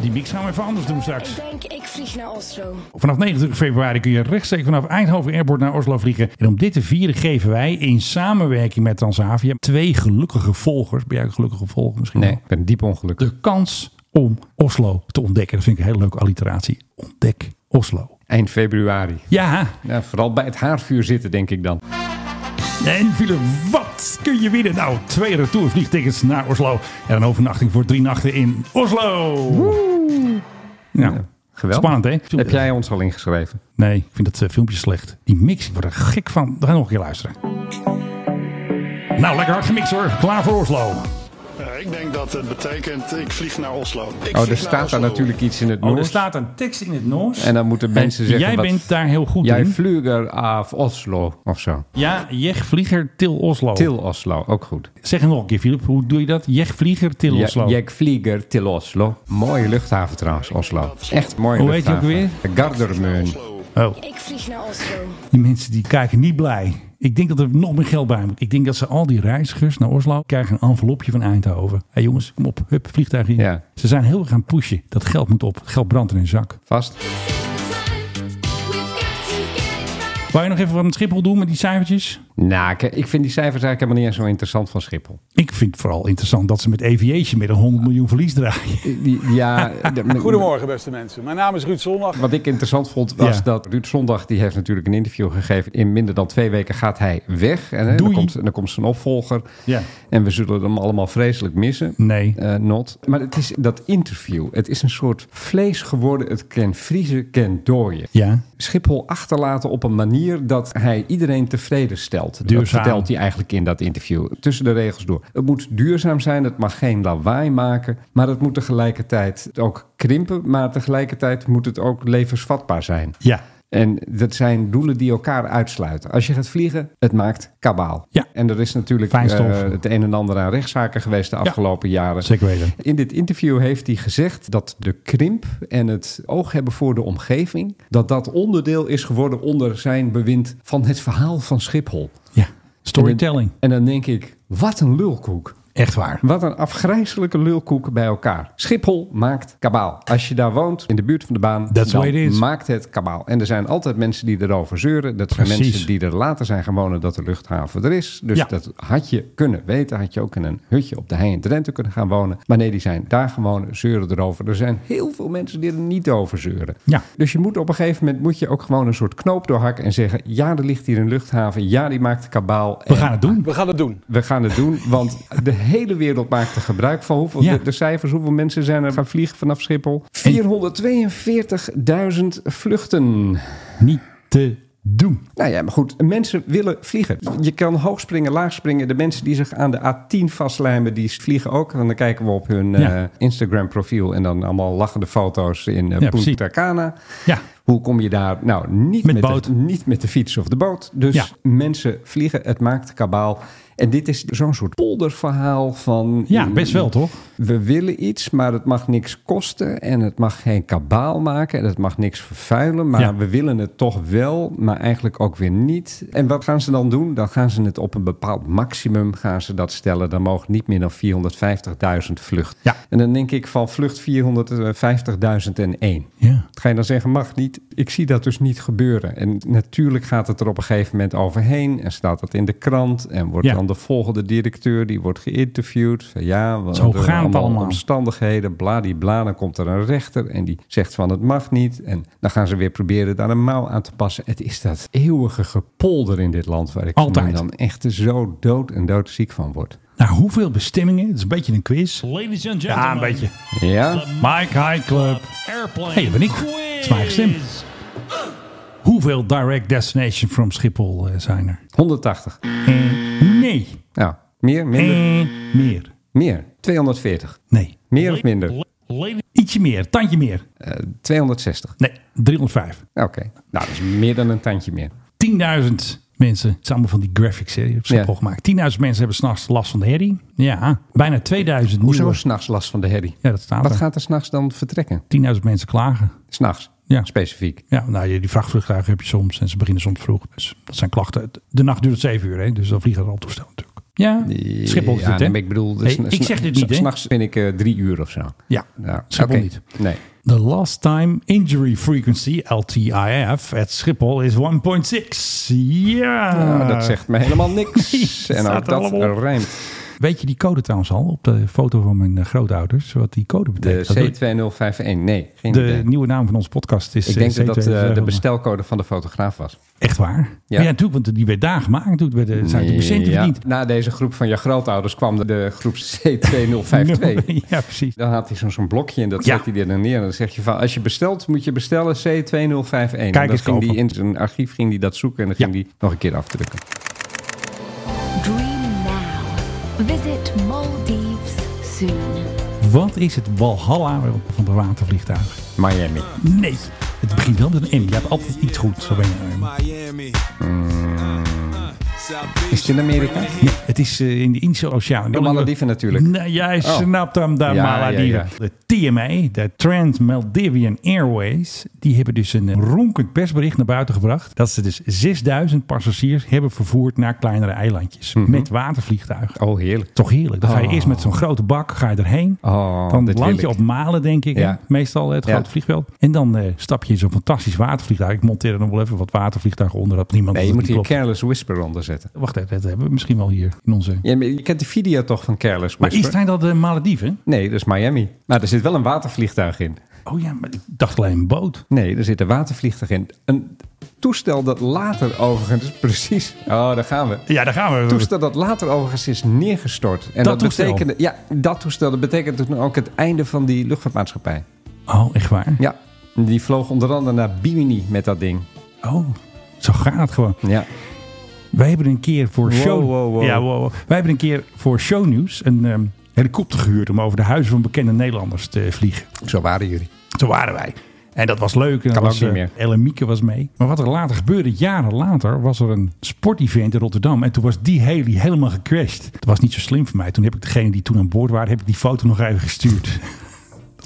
Speaker 10: Die mix gaan we even anders doen straks.
Speaker 19: Ik denk, ik vlieg naar Oslo.
Speaker 10: Vanaf 29 februari kun je rechtstreeks vanaf Eindhoven Airport naar Oslo vliegen. En om dit te vieren geven wij in samenwerking met Transavia twee gelukkige volgers. Ben jij een gelukkige volger misschien?
Speaker 11: Nee,
Speaker 10: wel?
Speaker 11: ik ben diep ongelukkig.
Speaker 10: De kans om Oslo te ontdekken. Dat vind ik een hele leuke alliteratie. Ontdek Oslo.
Speaker 11: Eind februari.
Speaker 10: Ja.
Speaker 11: ja. Vooral bij het haardvuur zitten, denk ik dan.
Speaker 10: En Philip, wat kun je winnen? Nou, twee retourvliegtickets naar Oslo. En een overnachting voor drie nachten in Oslo. Nou,
Speaker 11: Geweldig.
Speaker 10: Spannend, hè?
Speaker 11: Heb jij ons al ingeschreven?
Speaker 10: Nee, ik vind dat eh, filmpje slecht. Die mix, ik word er gek van. We gaan nog een keer luisteren. Nou, lekker hard gemixt hoor. Klaar voor Oslo.
Speaker 20: Eh, ik denk dat het betekent, ik vlieg naar Oslo. Ik vlieg
Speaker 11: Oh, er
Speaker 20: naar
Speaker 11: staat daar
Speaker 20: Oslo.
Speaker 11: natuurlijk iets in het
Speaker 10: Oh, er
Speaker 11: Noors.
Speaker 10: staat een tekst in het Noors.
Speaker 11: En dan moeten mensen
Speaker 10: En
Speaker 11: zeggen...
Speaker 10: jij
Speaker 11: wat-
Speaker 10: bent daar heel goed
Speaker 11: jij
Speaker 10: in. Oh.
Speaker 11: vlieger af Oslo of zo.
Speaker 10: Ja, jechvlieger til Oslo.
Speaker 11: Til Oslo, ook goed.
Speaker 10: Zeg het nog een keer, Filip. Hoe doe je dat? Jechvlieger til
Speaker 11: Ja,
Speaker 10: Oslo.
Speaker 11: Jekvlieger til Oslo. Mooie luchthaven trouwens, Oslo. Echt mooie
Speaker 10: Hoe heet die ook
Speaker 11: luchthaven.
Speaker 10: weer?
Speaker 11: De Gardermeun.
Speaker 10: Oh,
Speaker 19: Ik vlieg naar Oslo.
Speaker 10: die mensen die kijken niet blij. Ik denk dat er nog meer geld bij moet. Ik denk dat ze al die reizigers naar Oslo krijgen een envelopje van Eindhoven. Hé hey jongens, kom op. Hup, vliegtuig hier.
Speaker 11: Ja.
Speaker 10: Ze zijn heel erg aan het pushen. Dat geld moet op. Het geld brandt in hun zak.
Speaker 11: Vast.
Speaker 10: Wou je nog even wat met Schiphol doen met die cijfertjes?
Speaker 11: Nou, ik, ik vind die cijfers eigenlijk helemaal niet eens zo interessant van Schiphol.
Speaker 10: Ik vind het vooral interessant dat ze met aviation met een 100 miljoen verlies draaien.
Speaker 3: (laughs)
Speaker 11: Ja, de-
Speaker 3: Goedemorgen beste mensen, mijn naam is Ruud Zondag.
Speaker 11: Wat ik interessant vond was
Speaker 10: Ja.
Speaker 11: dat Ruud Zondag, die heeft natuurlijk een interview gegeven. In minder dan twee weken gaat hij weg. En hè, dan,
Speaker 10: Doei.
Speaker 11: komt, dan komt zijn opvolger.
Speaker 10: Ja.
Speaker 11: En we zullen hem allemaal vreselijk missen.
Speaker 10: Nee.
Speaker 11: Eh, not. Maar het is dat interview. Het is een soort vlees geworden. Het ken vriezen, ken dooien.
Speaker 10: Ja.
Speaker 11: Schiphol achterlaten op een manier dat hij iedereen tevreden stelt. Dat
Speaker 10: Duurzaam.
Speaker 11: vertelt hij eigenlijk in dat interview. Tussen de regels door. Het moet duurzaam zijn. Het mag geen lawaai maken. Maar het moet tegelijkertijd ook krimpen. Maar tegelijkertijd moet het ook levensvatbaar zijn.
Speaker 10: Ja.
Speaker 11: En dat zijn doelen die elkaar uitsluiten. Als je gaat vliegen, het maakt kabaal.
Speaker 10: Ja.
Speaker 11: En er is natuurlijk
Speaker 10: Fijnstof.
Speaker 11: eh, het een en ander aan rechtszaken geweest de afgelopen jaren.
Speaker 10: Zeker weten.
Speaker 11: In dit interview heeft hij gezegd dat de krimp en het oog hebben voor de omgeving... dat dat onderdeel is geworden onder zijn bewind van het verhaal van Schiphol.
Speaker 10: Ja. Storytelling.
Speaker 11: En dan denk ik, wat een lulkoek.
Speaker 10: Echt waar.
Speaker 11: Wat een afgrijzelijke lulkoek bij elkaar. Schiphol maakt kabaal. Als je daar woont, in de buurt van de baan,
Speaker 10: That's
Speaker 11: dan
Speaker 10: what it is.
Speaker 11: maakt het kabaal. En er zijn altijd mensen die erover zeuren. Dat zijn
Speaker 10: Precies.
Speaker 11: mensen die er later zijn gewonnen dat de luchthaven er is. Dus
Speaker 10: Ja.
Speaker 11: dat had je kunnen weten. Had je ook in een hutje op de hei in Drenthe kunnen gaan wonen. Maar nee, die zijn daar gewoon, zeuren erover. Er zijn heel veel mensen die er niet over zeuren.
Speaker 10: Ja.
Speaker 11: Dus je moet op een gegeven moment moet je ook gewoon een soort knoop doorhakken en zeggen... ja, er ligt hier een luchthaven. Ja, die maakt kabaal.
Speaker 10: We gaan het doen.
Speaker 3: We gaan het doen.
Speaker 11: We gaan het doen, want de hele wereld maakt er gebruik van. Hoeveel,
Speaker 10: Ja.
Speaker 11: de, de cijfers, hoeveel mensen zijn er gaan vliegen vanaf Schiphol? 442.000 vluchten.
Speaker 10: Niet te doen.
Speaker 11: Nou ja, maar goed, mensen willen vliegen. Je kan hoog springen, laag springen. De mensen die zich aan de A10 vastlijmen, die vliegen ook. En dan kijken we op hun
Speaker 10: Ja.
Speaker 11: eh, Instagram-profiel en dan allemaal lachende foto's in eh Punta
Speaker 10: Ja, precies.
Speaker 11: Cana.
Speaker 10: Ja.
Speaker 11: Hoe kom je daar? Nou, niet
Speaker 10: Met
Speaker 11: met,
Speaker 10: boot.
Speaker 11: De, niet met de fiets of de boot. Dus
Speaker 10: Ja.
Speaker 11: mensen vliegen, het maakt kabaal. En dit is zo'n soort polderverhaal van...
Speaker 10: Ja, best wel, toch?
Speaker 11: We willen iets, maar het mag niks kosten. En het mag geen kabaal maken. En het mag niks vervuilen. Maar
Speaker 10: Ja.
Speaker 11: we willen het toch wel, maar eigenlijk ook weer niet. En wat gaan ze dan doen? Dan gaan ze het op een bepaald maximum gaan ze dat stellen. Dan mogen niet meer dan 450.000 vlucht.
Speaker 10: Ja.
Speaker 11: En dan denk ik van vlucht 450.000 en één.
Speaker 10: Ja.
Speaker 11: Ga je dan zeggen, mag niet? Ik zie dat dus niet gebeuren. En natuurlijk gaat het er op een gegeven moment overheen. En staat dat in de krant. En wordt
Speaker 10: Ja.
Speaker 11: dan de volgende directeur, die wordt geïnterviewd. Van ja, wat
Speaker 10: Zo gaat het allemaal.
Speaker 11: omstandigheden, bladibla. Dan komt er een rechter en die zegt van het mag niet. En dan gaan ze weer proberen daar een mouw aan te passen. Het is dat eeuwige gepolder in dit land waar ik
Speaker 10: Altijd.
Speaker 11: me dan echt zo dood en doodziek van word.
Speaker 10: Nou, hoeveel bestemmingen? Het is een beetje een quiz. Ladies and gentlemen. Ja, een beetje.
Speaker 11: Ja,
Speaker 10: Mike High Club. Airplane. hey, daar ben ik. Dat is mijn eigen stem. Hoeveel direct destination from Schiphol eh, zijn er?
Speaker 11: 180.
Speaker 10: Eh, nee.
Speaker 11: Nou, meer, minder,
Speaker 10: Eh, meer.
Speaker 11: meer. 240.
Speaker 10: Nee.
Speaker 11: Meer of minder?
Speaker 10: Ietsje meer. Tandje meer.
Speaker 11: Eh, 260.
Speaker 10: Nee, 305.
Speaker 11: Oké. Nou, dat is meer dan een tandje meer.
Speaker 10: 10.000 mensen. Het is allemaal van die graphics hè, die op Schiphol
Speaker 11: Ja.
Speaker 10: gemaakt. 10.000 mensen hebben s'nachts last van de herrie. Ja, bijna 2.000
Speaker 11: Hoezo
Speaker 10: nieuwe.
Speaker 11: s'nachts last van de herrie?
Speaker 10: Ja, Nou, dat staat
Speaker 11: Wat
Speaker 10: er.
Speaker 11: gaat er s'nachts dan vertrekken?
Speaker 10: 10.000 mensen klagen.
Speaker 11: S'nachts,
Speaker 10: Ja.
Speaker 11: specifiek.
Speaker 10: Ja, nou, je- die vrachtvliegtuigen heb je soms en ze beginnen soms vroeg. Dus dat zijn klachten. De nacht duurt zeven uur, hè, dus dan vliegen er al toestellen natuurlijk. Ja, Schiphol is
Speaker 11: ja,
Speaker 10: dit, hè?
Speaker 11: nee, maar Ik bedoel, dus
Speaker 10: Nee, ik zeg dit niet, hè?
Speaker 11: S'nachts ben ik eh, drie uur of zo.
Speaker 10: Ja, Schiphol
Speaker 11: oké.
Speaker 10: niet.
Speaker 11: Nee.
Speaker 10: The last time injury frequency, LTIF, at Schiphol is 1.6. Ja.
Speaker 11: Nou, dat zegt me helemaal
Speaker 10: (laughs)
Speaker 11: niks.
Speaker 10: Nee,
Speaker 11: en
Speaker 10: Ah. staat
Speaker 11: ook
Speaker 10: er
Speaker 11: dat
Speaker 10: allemaal op.
Speaker 11: rijmt.
Speaker 10: Weet je die code trouwens al op de foto van mijn eh, grootouders? Wat die code
Speaker 11: De
Speaker 10: betekent? Dat doet-
Speaker 11: C2051, nee. Geen
Speaker 10: de
Speaker 11: idee.
Speaker 10: nieuwe naam van onze podcast is
Speaker 11: Ik
Speaker 10: eh,
Speaker 11: denk dat dat eh,
Speaker 10: C2051.
Speaker 11: de bestelcode van de fotograaf was.
Speaker 10: Echt waar? Ja, ja natuurlijk, want die werd daar gemaakt. Natuurlijk werd, eh, zijn de patiënten
Speaker 11: Ja.
Speaker 10: verdiend.
Speaker 11: Na deze groep van je grootouders kwam de, de groep (laughs)
Speaker 10: (laughs)
Speaker 11: C2052.
Speaker 10: ja, precies.
Speaker 11: Dan had hij zo'n zo'n blokje en dat
Speaker 10: Ja.
Speaker 11: zet hij er dan neer. En dan zeg je van, als je bestelt, moet je bestellen C2051. En
Speaker 10: Kijk
Speaker 11: dan
Speaker 10: eens
Speaker 11: ging die
Speaker 10: kopen.
Speaker 11: in zijn archief ging die dat zoeken en dan ging die nog een keer afdrukken.
Speaker 21: Dream now. Visit Maldives soon.
Speaker 10: Wat is het Walhalla van de watervliegtuigen?
Speaker 11: Miami.
Speaker 10: Nee, het begint wel met een M. Je hebt altijd iets goed. Zo ben je.
Speaker 11: Is het in Amerika?
Speaker 10: Nee, (laughs) het is eh, in de Indische Oceaan.
Speaker 11: De Malediven natuurlijk.
Speaker 10: Nee, jij
Speaker 11: Oh.
Speaker 10: snapt hem daar,
Speaker 11: Ja,
Speaker 10: Malediven.
Speaker 11: ja,
Speaker 10: De TMA, de Trans Maldivian Airways, die hebben dus een ronkend persbericht naar buiten gebracht. Dat ze dus 6000 passagiers hebben vervoerd naar kleinere eilandjes. Met watervliegtuigen.
Speaker 11: Oh, heerlijk.
Speaker 10: Toch heerlijk. Dan ga je
Speaker 11: Mhm. Oh.
Speaker 10: eerst met zo'n grote bak ga je erheen.
Speaker 11: Oh,
Speaker 10: dan
Speaker 11: dit
Speaker 10: land
Speaker 11: wil
Speaker 10: je
Speaker 11: ik.
Speaker 10: op Malen, denk ik. hè?
Speaker 11: Ja.
Speaker 10: Meestal het
Speaker 11: Ja.
Speaker 10: grote vliegveld. En dan eh, stap je in zo'n fantastisch watervliegtuig. Ik monteer er nog wel even wat watervliegtuigen onder. Dat niemand
Speaker 11: Nee, je
Speaker 10: dat
Speaker 11: moet
Speaker 10: niet
Speaker 11: hier
Speaker 10: klopt.
Speaker 11: Careless Whisper onder zetten.
Speaker 10: Wacht even, dat hebben we misschien wel hier in onze...
Speaker 11: Ja, maar je kent die video toch van Careless
Speaker 10: Maar
Speaker 11: Whisper?
Speaker 10: is zijn dat de Malediven?
Speaker 11: Nee, dat is Miami. Maar er zit wel een watervliegtuig in.
Speaker 10: Oh ja, maar ik dacht alleen een boot.
Speaker 11: Nee, er zit een watervliegtuig in. Een toestel dat later overigens... (laughs) Precies. Oh, daar gaan we.
Speaker 10: Ja, daar gaan we.
Speaker 11: Een toestel dat later overigens is neergestort. En
Speaker 10: Dat
Speaker 11: dat,
Speaker 10: toestel?
Speaker 11: betekende, ja, dat toestel. Dat betekent toen ook het einde van die luchtvaartmaatschappij.
Speaker 10: Oh, echt waar?
Speaker 11: Ja. Die vloog onder andere naar Bimini met dat ding.
Speaker 10: Oh, zo gaat het gewoon.
Speaker 11: Ja.
Speaker 10: Wij hebben een keer voor
Speaker 11: Wow,
Speaker 10: show...
Speaker 11: wow, wow.
Speaker 10: Ja, wow, wow. Wij hebben een keer voor shownieuws een ehm, helikopter gehuurd... om over de huizen van bekende Nederlanders te vliegen.
Speaker 11: Zo waren jullie.
Speaker 10: Zo waren wij. En dat was leuk. En
Speaker 11: Kan
Speaker 10: dat was,
Speaker 11: ook niet
Speaker 10: eh,
Speaker 11: meer.
Speaker 10: Ellen Mieke was mee. Maar wat er later gebeurde, jaren later, was er een sportevent in Rotterdam. En toen was die heli helemaal gecrashed. Dat was niet zo slim van mij. Toen heb ik degene die toen aan boord waren, heb ik die foto nog even gestuurd. (laughs)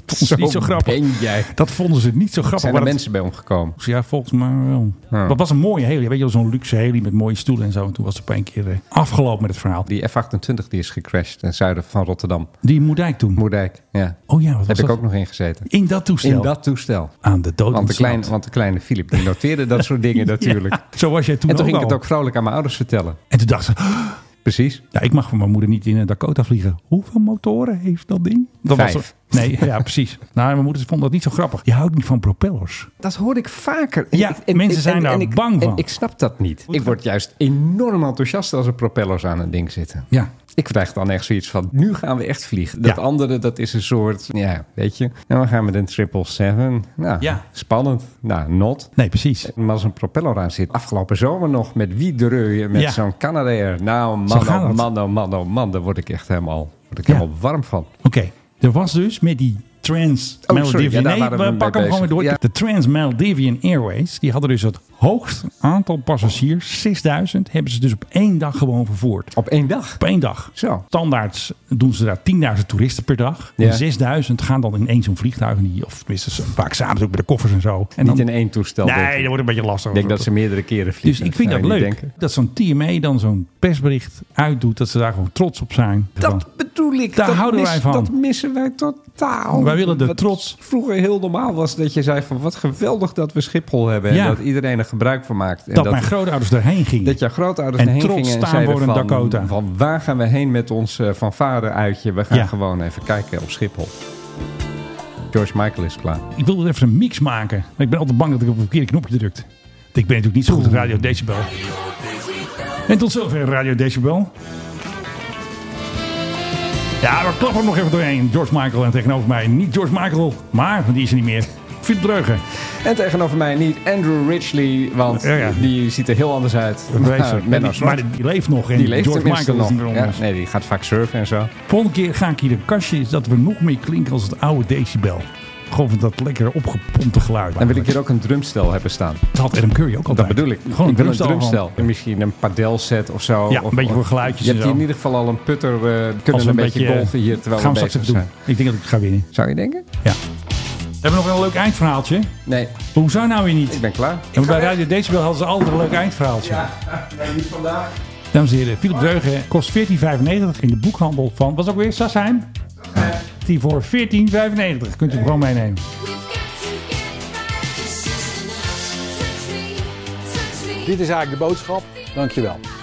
Speaker 10: Dat vonden ze niet zo grappig.
Speaker 11: ben jij.
Speaker 10: Dat vonden ze niet zo grappig.
Speaker 11: Zijn
Speaker 10: maar
Speaker 11: er
Speaker 10: dat-
Speaker 11: mensen bij omgekomen?
Speaker 10: Ja, volgens mij wel.
Speaker 11: Ja.
Speaker 10: Dat was een mooie heli. Weet je wel, zo'n luxe heli met mooie stoelen en zo. En toen was het op een keer eh, afgelopen met het verhaal.
Speaker 11: Die F-28 die is gecrashed ten zuiden van Rotterdam.
Speaker 10: Die Moerdijk toen?
Speaker 11: Moerdijk, ja.
Speaker 10: Oh ja, wat was
Speaker 11: Heb ik
Speaker 10: dat?
Speaker 11: ook nog ingezeten.
Speaker 10: In dat toestel? Oh,
Speaker 11: In dat toestel.
Speaker 10: Aan de dood
Speaker 11: want de,
Speaker 10: ontsnapt.
Speaker 11: kleine, want de kleine Filip die noteerde dat soort dingen natuurlijk.
Speaker 10: (laughs) Ja, zo was jij toen
Speaker 11: en toen
Speaker 10: ook
Speaker 11: ging ik
Speaker 10: al.
Speaker 11: het ook vrolijk aan mijn ouders vertellen.
Speaker 10: En toen dacht ze... (gasps)
Speaker 11: Precies.
Speaker 10: Ja, ik mag van mijn moeder niet in een Dakota vliegen. Hoeveel motoren heeft dat ding? Dat
Speaker 11: Vijf.
Speaker 10: Was nee, (laughs) ja, precies. Nou, mijn moeder vond dat niet zo grappig. Je houdt niet van propellers.
Speaker 11: Dat hoor ik vaker.
Speaker 10: Ja, mensen zijn daar
Speaker 11: ik,
Speaker 10: bang
Speaker 11: en
Speaker 10: van.
Speaker 11: ik snap dat niet. Ik word juist enorm enthousiast als er propellers aan het ding zitten.
Speaker 10: Ja.
Speaker 11: Ik krijg dan echt zoiets van, nu gaan we echt vliegen. Dat
Speaker 10: Ja.
Speaker 11: andere, dat is een soort, ja, weet je. Nou, we gaan met een 777. Nou,
Speaker 10: Ja.
Speaker 11: spannend. Nou, not.
Speaker 10: Nee, precies.
Speaker 11: Maar als een propeller aan zit, afgelopen zomer nog, met wie dreuien, met
Speaker 10: Ja.
Speaker 11: zo'n Canadair. Nou, man,
Speaker 10: Zo gaat
Speaker 11: oh
Speaker 10: het.
Speaker 11: man, oh man, oh man, daar word ik echt helemaal, word ik
Speaker 10: Ja.
Speaker 11: helemaal warm van.
Speaker 10: Oké, er was dus met die Trans
Speaker 11: Oh,
Speaker 10: Maldivian...
Speaker 11: sorry, ja, daar waren we
Speaker 10: nee, we
Speaker 11: mee
Speaker 10: pakken hem
Speaker 11: bezig.
Speaker 10: gewoon weer door.
Speaker 11: Ja.
Speaker 10: De Trans Maldivian Airways, die hadden dus het hoogst aantal passagiers, 6000, hebben ze dus op één dag gewoon vervoerd.
Speaker 11: Op één dag?
Speaker 10: Op één dag.
Speaker 11: Zo.
Speaker 10: Standaard doen ze daar 10.000 toeristen per dag.
Speaker 11: Ja.
Speaker 10: En 6000 gaan dan in één zo'n vliegtuig. en die- Of tenminste, ze- vaak s'avonds ook bij de koffers en zo. En
Speaker 11: Niet
Speaker 10: dan,
Speaker 11: in één toestel.
Speaker 10: Nee,
Speaker 11: denk ik.
Speaker 10: dat wordt een beetje lastig.
Speaker 11: Ik denk dat ze meerdere keren
Speaker 10: Dus
Speaker 11: vliegen.
Speaker 10: ik vind
Speaker 11: Zou
Speaker 10: dat
Speaker 11: je
Speaker 10: leuk.
Speaker 11: niet denken?
Speaker 10: Dat zo'n TME dan zo'n persbericht uitdoet. Dat ze daar gewoon trots op zijn. Van,
Speaker 11: bedoel ik.
Speaker 10: Daar houden wij van.
Speaker 11: Dat missen wij totaal.
Speaker 10: Wij willen de
Speaker 11: Wat
Speaker 10: trots.
Speaker 11: Vroeger heel normaal was dat je zei van wat geweldig dat we Schiphol hebben.
Speaker 10: Ja.
Speaker 11: En dat iedereen er gebruik van maakt. En
Speaker 10: dat, mijn grootouders daarheen gingen.
Speaker 11: dat jouw grootouders
Speaker 10: En
Speaker 11: erheen
Speaker 10: trots
Speaker 11: gingen en
Speaker 10: staan
Speaker 11: zeiden
Speaker 10: voor een
Speaker 11: van,
Speaker 10: Dakota.
Speaker 11: van waar gaan we heen met ons eh, fanfare uitje. We gaan
Speaker 10: Ja.
Speaker 11: gewoon even kijken op Schiphol. George Michael is klaar.
Speaker 10: Ik wilde even een mix maken. Maar ik ben altijd bang dat ik op het verkeerde knopje drukt. Ik ben natuurlijk niet zo goed op Radio Decibel. En tot zover Radio Decibel. Ja, we klappen er nog even doorheen. George Michael en tegenover mij niet George Michael. Maar, die is er niet meer. Philip Dreugen.
Speaker 11: En tegenover mij niet Andrew Ridgely, want
Speaker 10: Ja, ja.
Speaker 11: die ziet er heel anders uit. Nou,
Speaker 10: Racer.
Speaker 11: Menno
Speaker 10: Maar die-
Speaker 11: Zwart.
Speaker 10: maar die leeft nog en
Speaker 11: Die leeft
Speaker 10: George
Speaker 11: tenminste
Speaker 10: Michael is niet
Speaker 11: nog.
Speaker 10: meer onder
Speaker 11: Ja, nee, die gaat vaak surfen en zo.
Speaker 10: Volgende keer ga ik hier een kastje is dat we nog meer klinken als het oude decibel. Gewoon van dat lekkere opgepompte geluid.
Speaker 11: Dan wil ik hier ook een drumstel hebben staan.
Speaker 10: Dat had Adam Curry ook altijd.
Speaker 11: Dat bedoel ik.
Speaker 10: Gewoon
Speaker 11: ik wil een
Speaker 10: drumstel
Speaker 11: drumstel.
Speaker 10: gewoon.
Speaker 11: En misschien een padelset of zo.
Speaker 10: Ja,
Speaker 11: Of-
Speaker 10: een beetje voor
Speaker 11: of-
Speaker 10: geluidjes
Speaker 11: Je
Speaker 10: en
Speaker 11: hebt hier
Speaker 10: zo.
Speaker 11: in ieder geval al een putter. eh
Speaker 10: Als
Speaker 11: kunnen
Speaker 10: we
Speaker 11: een beetje golven hier terwijl
Speaker 10: gaan
Speaker 11: we
Speaker 10: straks
Speaker 11: bezig
Speaker 10: even
Speaker 11: zijn.
Speaker 10: doen. Ik denk dat ik ga winnen.
Speaker 11: Zou je denken?
Speaker 10: Ja. We hebben nog wel een leuk eindverhaaltje.
Speaker 11: Nee,
Speaker 10: Hoe zou nou weer niet?
Speaker 11: ik ben klaar. (laughs)
Speaker 10: En bij Radio Decibel hadden ze altijd een leuk eindverhaaltje.
Speaker 11: niet vandaag.
Speaker 10: Dames en heren, Philip Dreugen kost 14,95 in de boekhandel van, was ook weer Sassheim? Die voor 14,95 kunt u hem gewoon meenemen.
Speaker 3: Dit is eigenlijk de boodschap. Dankjewel.